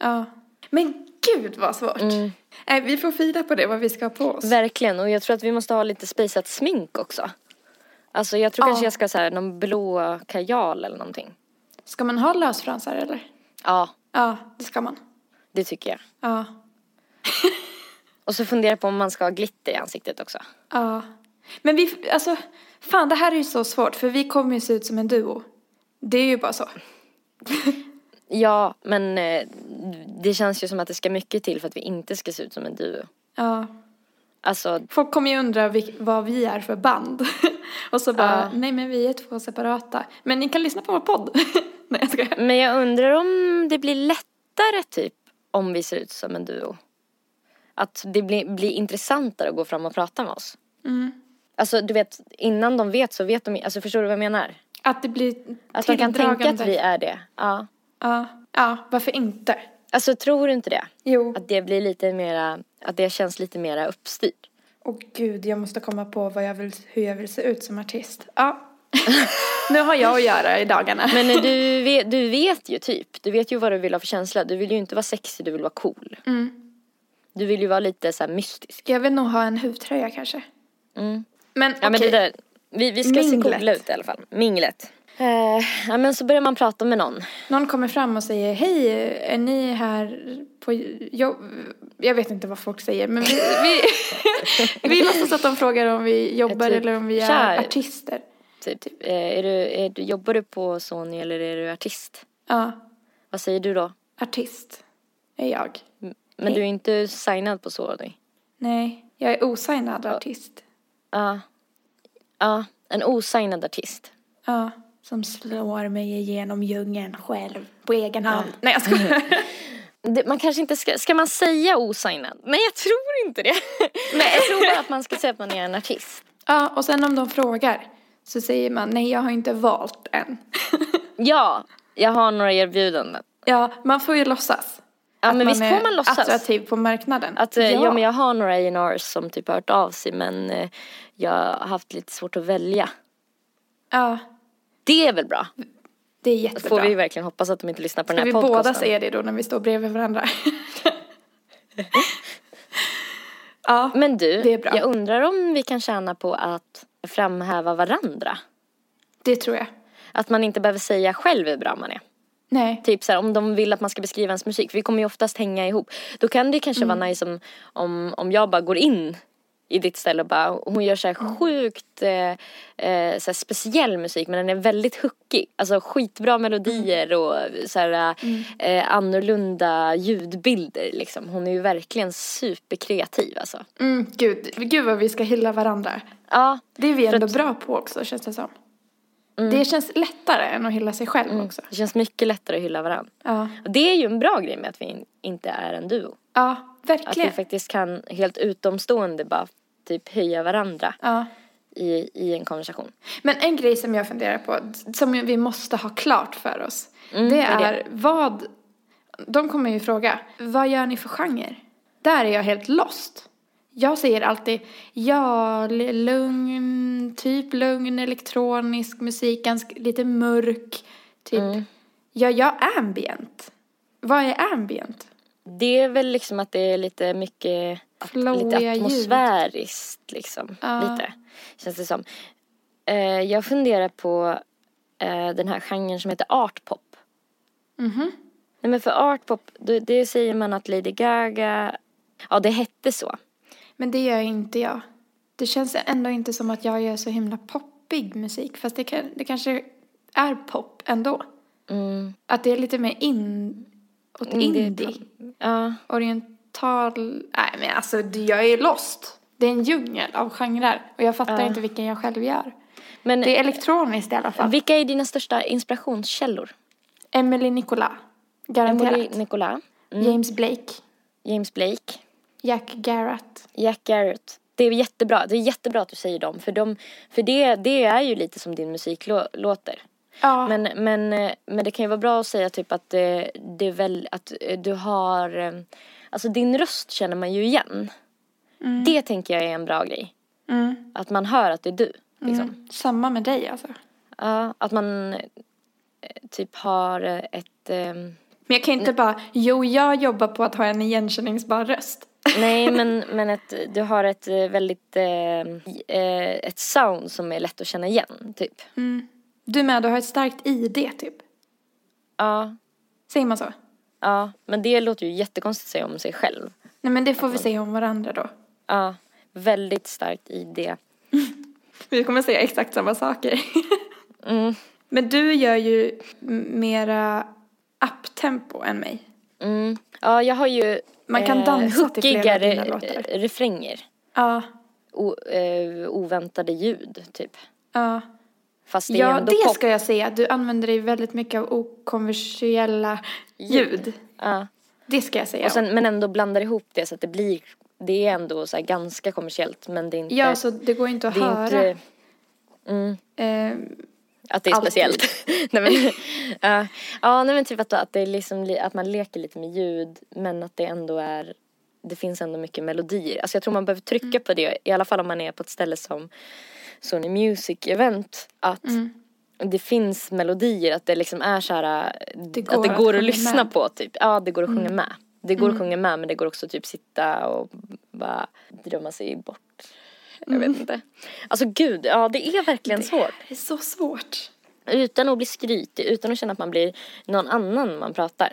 C: Ja. Men gud vad svårt.
B: Mm.
C: Nej, vi får fila på det, vad vi ska ha på oss.
B: Verkligen. Och jag tror att vi måste ha lite spisat smink också. Alltså jag tror
C: Ja.
B: kanske jag ska ha så här, någon blå kajal eller någonting.
C: Ska man ha lösfransar eller?
B: Ja,
C: Ja, det ska man.
B: det tycker jag.
C: Ja.
B: Och så fundera på om man ska ha glitter i ansiktet också.
C: Ja. Men vi, alltså, fan det här är ju så svårt för vi kommer ju se ut som en duo. Det är ju bara så.
B: Ja, men eh, det känns ju som att det ska mycket till för att vi inte ska se ut som en duo.
C: Ja.
B: Alltså,
C: Folk kommer ju undra vil- vad vi är för band. Och så bara, nej men vi är två separata. Men ni kan lyssna på vår podd. nej jag skojar.
B: men jag undrar om det blir lättare typ om vi ser ut som en duo. Att det blir, blir intressantare att gå fram och prata med oss. Alltså du vet, innan de vet så vet de alltså förstår du vad jag menar?
C: Att det blir
B: Att de kan
C: tilldragande.
B: tänka att vi är det. Ja.
C: Ja. ja, varför inte?
B: Alltså tror du inte det?
C: Jo.
B: Att det blir lite mera, att det känns lite mera uppstyrt.
C: Åh gud, jag måste komma på vad jag vill, hur jag vill se ut som artist. Ja. nu har jag att göra i dagarna.
B: Men eh, du vet, du vet ju typ, du vet ju vad du vill ha för känsla. Du vill ju inte vara sexig, du vill vara cool.
C: Mm.
B: Du vill ju vara lite så här mystisk.
C: Jag vill nog ha en huvtröja kanske. Men okej.
B: Mm. Ja men det där, vi, vi ska se
C: Minglet.
B: coola ut i alla fall. Minglet. Eh, ja men så börjar man prata med någon.
C: Någon kommer fram och säger hej, är ni här på jobb? Jag vet inte vad folk säger men vi, vi, vi låtsas att de frågar om vi jobbar
B: Typ,
C: eller om vi är
B: "Tja."
C: artister.
B: Typ, eh, är du, är du, jobbar du på Sony eller är du artist?
C: Ja,
B: Vad säger du då?
C: artist är jag.
B: Men du är inte signad på Sony.
C: Nej, jag är osignad artist.
B: Ja. Ja, en osignad artist.
C: Ja, som slår mig igenom djungeln själv på egen hand. Nej jag skojar.
B: Det, man kanske inte ska, ska man säga osignad? Nej jag tror inte det. Nej. Jag tror bara att man ska säga att man är en artist.
C: Ja, och sen om de frågar så säger man nej jag har inte valt än.
B: Ja, jag har några erbjudanden.
C: Ja, man får ju låtsas.
B: Ja men
C: man
B: visst
C: är
B: får man låtsas.
C: attraktiv på marknaden.
B: Att eh, ja. men jag har några A&Rs som typ har hört av sig men eh, jag har haft lite svårt att välja.
C: ja.
B: Det är väl bra?
C: Det är
B: Då
C: jättebra.
B: får vi ju verkligen hoppas att de inte lyssnar på den
C: Ska
B: här
C: vi
B: podcasten.
C: båda säga det då när vi står bredvid varandra? ja,
B: Men du,
C: Det är bra.
B: jag undrar om vi kan tjäna på att framhäva varandra.
C: det tror jag.
B: Att man inte behöver säga själv hur bra man är.
C: Nej.
B: Typ så här, om de vill att man ska beskriva ens musik, för vi kommer ju oftast hänga ihop. Då kan det kanske vara nice om, om, om jag bara går in i ditt ställe och bara, hon gör så här sjukt eh, eh, så här speciell musik men den är väldigt hookig. Alltså skitbra melodier och så här eh, annorlunda ljudbilder liksom. Hon är ju verkligen superkreativ alltså.
C: Mm, gud, gud vad vi ska hylla varandra.
B: Ja,
C: Det är vi ändå bra på också känns det som.
B: Mm.
C: Det känns lättare än att hylla sig själv också.
B: det känns mycket lättare att hylla varandra.
C: Ja,
B: Och det är ju en bra grej med att vi in, inte är en duo.
C: ja
B: Att
C: verkligen.
B: vi faktiskt kan helt utomstående bara typ höja varandra
C: Ja.
B: i, i en konversation.
C: Men en grej som jag funderar på, som vi måste ha klart för oss, Mm, det
B: är det.
C: är vad... De kommer ju fråga, vad gör ni för genre? Där är jag helt lost. Jag säger alltid, ja, l- lugn, typ lugn, elektronisk musik, ganska, lite mörk, typ. Ja, jag är ambient. Vad är ambient?
B: Det är väl liksom att det är lite mycket att, lite
C: Flowiga ljud.
B: atmosfäriskt liksom.
C: Ja.
B: Lite, känns det som. Eh, jag funderar på eh, den här genren som heter artpop.
C: Mhm.
B: Nej men för artpop, det, det säger man att Lady Gaga, ja det hette så.
C: Men det gör inte jag. Det känns ändå inte som att jag gör så himla poppig musik. Fast det, kan, det kanske är pop ändå.
B: Mm.
C: Att det är lite mer in, åt
B: Mm, det är
C: indie.
B: Ja,
C: Oriental... Nej, men alltså det- jag är ju lost. Det är en djungel av genrer. Och jag fattar inte vilken jag själv gör.
B: men
C: Det är liksom- elektroniskt i alla fall.
B: vilka är dina största inspirationskällor?
C: Emily Nicola. Garanterat.
B: Emily mm. Nicola,
C: James Blake.
B: James Blake,
C: Jack Garrett.
B: Jack Garrett. Det är jättebra. Det är jättebra att du säger dem. För, de, för det, det är ju lite som din musik lå- låter.
C: Ja.
B: Men, men, eh, men det kan ju vara bra att säga typ att eh, det är väl att eh, du har... eh, Alltså din röst känner man ju igen. Det tänker jag är en bra grej.
C: Mm.
B: Att man hör att det är du. Liksom.
C: Samma med dig alltså.
B: Ja, att man eh, typ har eh, ett... ehm,
C: Men jag kan inte bara, jo jag jobbar på att ha en igenkänningsbar röst.
B: Nej, men, men ett, du har ett eh, väldigt... Eh, i- eh, ett sound som är lätt att känna igen, typ.
C: Mm. Du med, du har ett starkt ID typ.
B: Ja,
C: Säger man så?
B: ja. Men det låter ju jättekonstigt att säga om sig själv.
C: Nej men det får vi
B: Alltså.
C: säga om varandra då.
B: Ja, väldigt starkt i det.
C: Vi kommer säga exakt samma saker.
B: Mm.
C: Men du gör ju m- mera uptempo än mig.
B: Mm. Ja, jag har ju...
C: Man kan dansa till flera av
B: hookigare,
C: dina låtar.
B: eh, refränger.
C: Ja,
B: O, eh, oväntade ljud, typ.
C: ja.
B: Fast det är
C: Ja,
B: ändå
C: det
B: pop.
C: ska jag säga. Du använder dig väldigt mycket av okonventionella ljud.
B: Ja.
C: Det ska jag säga.
B: Och sen, men ändå blandar ihop det så att det blir... Det är ändå så här ganska kommersiellt, men det är inte...
C: ja, så det går inte att
B: det är
C: höra.
B: inte mm.
C: Eh,
B: att det är
C: Alltid.
B: speciellt. nej, men, ja. ja, nej men typ att, att, det är liksom, li- att man leker lite med ljud, men att det ändå är... Det finns ändå mycket melodier. Alltså jag tror man behöver trycka
C: Mm.
B: på det, i alla fall om man är på ett ställe som Sony Music Event, att
C: Mm.
B: det finns melodier, att det liksom är så här,
C: går
B: att det
C: att
B: går att,
C: sjunga
B: lyssna
C: med. Mm.
B: på typ. Ja, det går att sjunga med. Det går att sjunga med men det går också typ sitta och bara drömma sig bort. Jag vet inte. Alltså gud, ja det är verkligen svårt.
C: det är så svårt.
B: Utan att bli skrytig, utan att känna att man blir någon annan man pratar.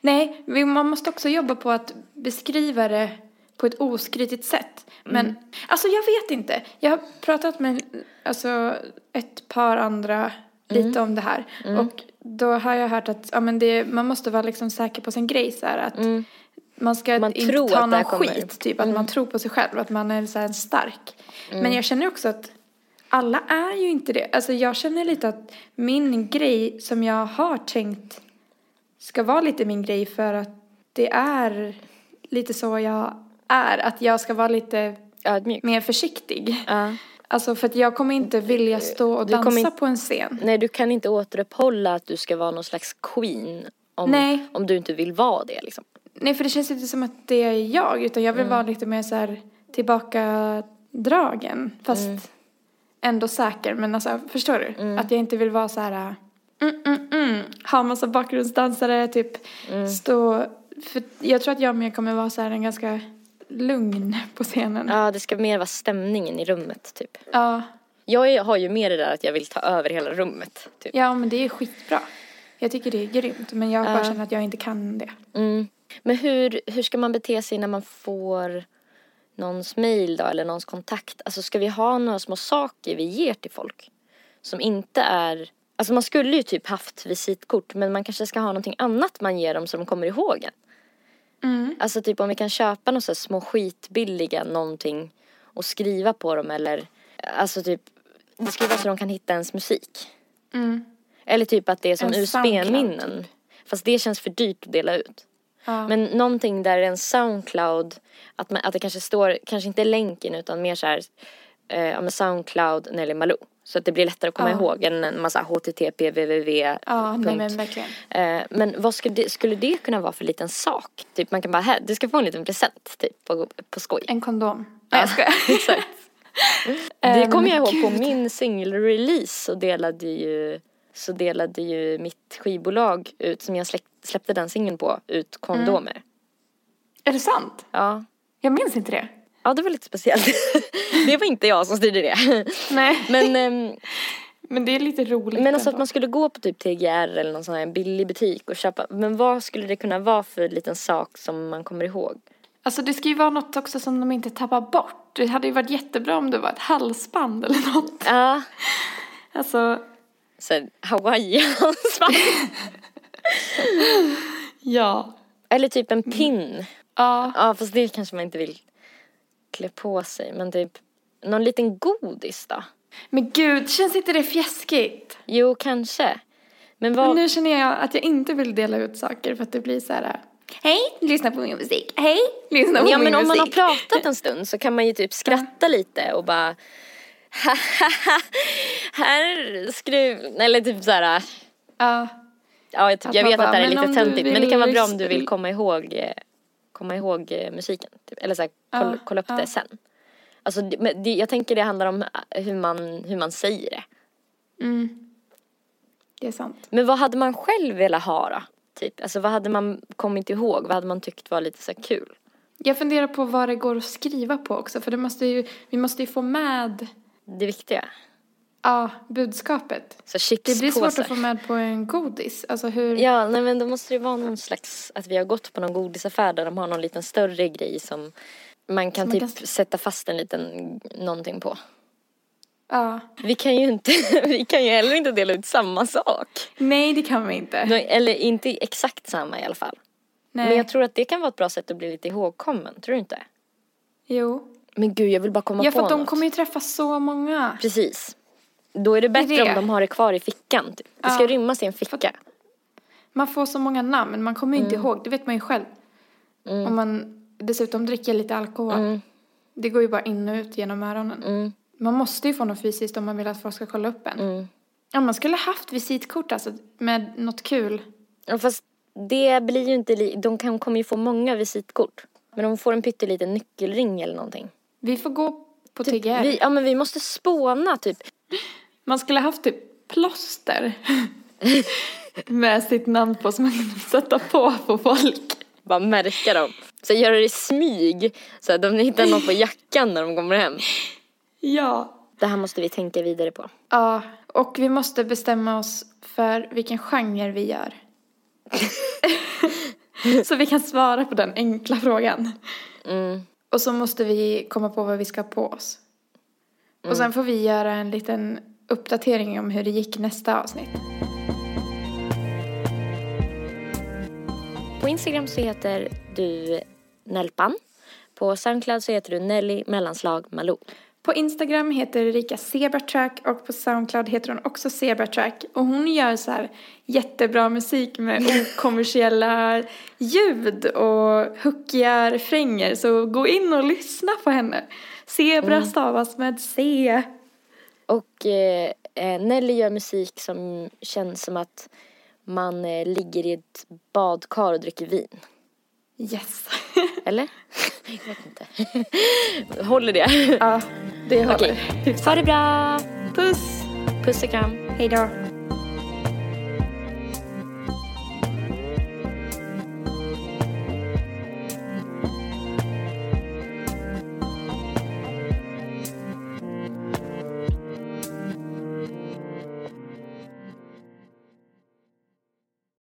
C: Nej, vi- man måste också jobba på att beskriva det på ett oskritigt sätt. Men
B: Mm.
C: alltså jag vet inte. Jag har pratat med alltså, ett par andra
B: Mm.
C: lite om det här. Och då har jag hört att ja, men det, man måste vara liksom säker på sin grej. Så här, att Man ska
B: Mm. Man
C: inte
B: tror
C: ta
B: att det här
C: någon
B: kommer. Mm.
C: skit. Typ, att man tror på sig själv, att man är så här, stark. Men jag känner också att alla är ju inte det. Alltså jag känner lite att min grej som jag har tänkt ska vara lite min grej för att det är lite så jag är. Att jag ska vara lite
B: Ödmjuk.
C: mer försiktig.
B: Ja.
C: Alltså för att jag kommer inte vilja stå och
B: Du kommer
C: dansa
B: inte-
C: på en scen.
B: Nej, du kan inte återuppehålla att du ska vara någon slags queen. Om,
C: Nej.
B: om du inte vill vara det liksom.
C: Nej för det känns inte som att det är jag utan jag vill
B: Mm.
C: vara lite mer så här tillbakadragen. Fast
B: Mm.
C: ändå säker. Men alltså förstår du? Att jag inte vill vara så här äh, mm, mm, mm, ha massa bakgrundsdansare typ
B: Mm.
C: stå. För jag tror att jag mer kommer vara så här en ganska lugn på scenen.
B: Ja, det ska mer vara stämningen i rummet typ.
C: Ja,
B: Jag är, har ju mer det där att jag vill ta över hela rummet. Typ.
C: ja men det är skitbra. Jag tycker det är grymt, men jag bara känner att jag inte kan det.
B: Mm. Men hur, hur ska man bete sig när man får någons mail då eller någons kontakt. Alltså ska vi ha några små saker vi ger till folk? Som inte är, alltså man skulle ju typ haft visitkort men man kanske ska ha någonting annat man ger dem så de kommer ihåg en. Alltså typ om vi kan köpa några så här små skitbilliga någonting och skriva på dem eller alltså typ skriva så de kan hitta ens musik. Eller typ att det är som
C: Mm. En Soundcloud,
B: USB-minnen. Fast det känns för dyrt att dela ut. Men någonting där en Soundcloud, att, man, att det kanske står, kanske inte länken utan mer så här, eh, ja men Soundcloud Nelly Malou. Så att det blir lättare att komma
C: Ja.
B: ihåg än en massa http www.
C: Ja, nej
B: punkt.
C: men verkligen.
B: Eh, Men vad skulle det, skulle det kunna vara för liten sak? Typ man kan bara, här, du ska få en liten present typ på, på skoj.
C: En kondom. Nej, jag skojar.
B: Exakt. Det
C: Eh,
B: kommer jag
C: men
B: ihåg på min singelrelease så delade ju så delade ju mitt skivbolag ut, som jag släck- släppte den singeln på, ut kondomer.
C: Mm. Är det sant?
B: Ja.
C: Jag minns inte det.
B: ja, det var lite speciellt. det var inte jag som styrde det.
C: Nej, men,
B: Men, ehm,
C: det är lite roligt
B: men alltså att
C: ändå.
B: man skulle gå på typ TGR eller någon sån här billig butik och köpa. Men vad skulle det kunna vara för liten sak som man kommer ihåg?
C: Alltså det ska ju vara något också som de inte tappar bort. Det hade ju varit jättebra om det var ett halsband eller något.
B: Ja,
C: Alltså,
B: Sen hawaiiansband.
C: ja.
B: Eller typ en
C: Mm.
B: pin.
C: Ja,
B: Ja fast det kanske man inte vill klä på sig. Men typ någon liten godis då?
C: men gud, känns inte det fjäskigt?
B: Jo kanske. Men
C: Men
B: vad,
C: nu känner jag att jag inte vill dela ut saker för att det blir så här. Hej, lyssna på min musik. Hej, lyssna på
B: ja
C: min
B: men om man
C: musik.
B: har pratat en stund så kan man ju typ skratta lite och bara här skruv, eller typ såhär,
C: Ja,
B: ja jag, typ,
C: Att
B: jag
C: man
B: vet
C: bara,
B: att det här är
C: "Men om
B: lite
C: du
B: töntigt men det
C: vill
B: kan vara bra om
C: lyssna-
B: du vill komma ihåg, eh, komma ihåg eh, musiken. Typ. Eller såhär, kolla,
C: Ja,
B: kolla upp
C: ja.
B: det sen. Alltså det, men det, jag tänker det handlar om eh, hur man, hur man säger det.
C: det är sant.
B: Men vad hade man själv velat ha då? Typ, alltså vad hade man kommit ihåg? Vad hade man tyckt var lite så här kul?
C: Jag funderar på vad det går att skriva på också för det måste ju, vi måste ju få med
B: Det viktiga.
C: ja, budskapet.
B: Så
C: Det blir svårt
B: chipspåsar.
C: att få med på en godis. Alltså hur...
B: Ja, nej men då måste det vara någon slags, att vi har gått på någon godisaffär där de har någon liten större grej som man kan
C: Som man
B: typ
C: kan-
B: sätta fast en liten någonting på.
C: ja.
B: Vi kan ju inte, vi kan ju heller inte dela ut samma sak.
C: Nej, det kan vi inte.
B: Nå- Eller inte exakt samma i alla fall.
C: Nej.
B: Men jag tror att det kan vara ett bra sätt att bli lite ihågkommen, tror du inte?
C: Jo.
B: Men gud, jag vill bara komma
C: Ja,
B: på
C: för att de
B: något.
C: kommer ju träffa så många.
B: Precis. Då är det bättre
C: det.
B: om de har det kvar i fickan. Typ. Det ska
C: Ja.
B: rymmas i en ficka.
C: Man får så många namn, man kommer ju inte
B: Mm.
C: ihåg. Det vet man ju själv. Om man dessutom dricker lite alkohol.
B: Mm.
C: Det går ju bara in och ut genom öronen. Man måste ju få något fysiskt om man vill att folk ska kolla upp en.
B: Mm.
C: Ja, man skulle haft visitkort alltså, med något kul.
B: Ja, Fast det blir ju inte... Li- de kan, kommer ju få många visitkort. Men de får en pytteliten nyckelring eller någonting.
C: Vi får gå på TGR.
B: Typ Vi, ja, men vi måste spåna typ.
C: Man skulle haft typ plåster med sitt namn på som man kunde sätta på på folk.
B: Bara märka dem. Så göra det i smyg. Så att de hittar någon på jackan när de kommer hem.
C: Ja.
B: Det här måste vi tänka vidare på.
C: Ja, och vi måste bestämma oss för vilken genre vi gör. så vi kan svara på den enkla frågan. Och så måste vi komma på vad vi ska ha på oss. Och sen får vi göra en liten uppdatering om hur det gick nästa avsnitt.
B: På Instagram så heter du Nelpan. På Soundcloud så heter du Nelly mellanslag Malou.
C: På Instagram heter Erika Zebratrack och på Soundcloud heter hon också Zebratrack. Och hon gör så här jättebra musik med okommersiella ljud och hookiga refränger. Så gå in och lyssna på henne. Zebra stavas med C.
B: Och eh, eh, Nelly gör musik som känns som att man eh, ligger i ett badkar och dricker vin.
C: Yes.
B: Eller? Jag vet inte. Håller det?
C: ja, det håller.
B: Okej. Ha det bra!
C: Puss.
B: Puss och kram.
C: Hej då.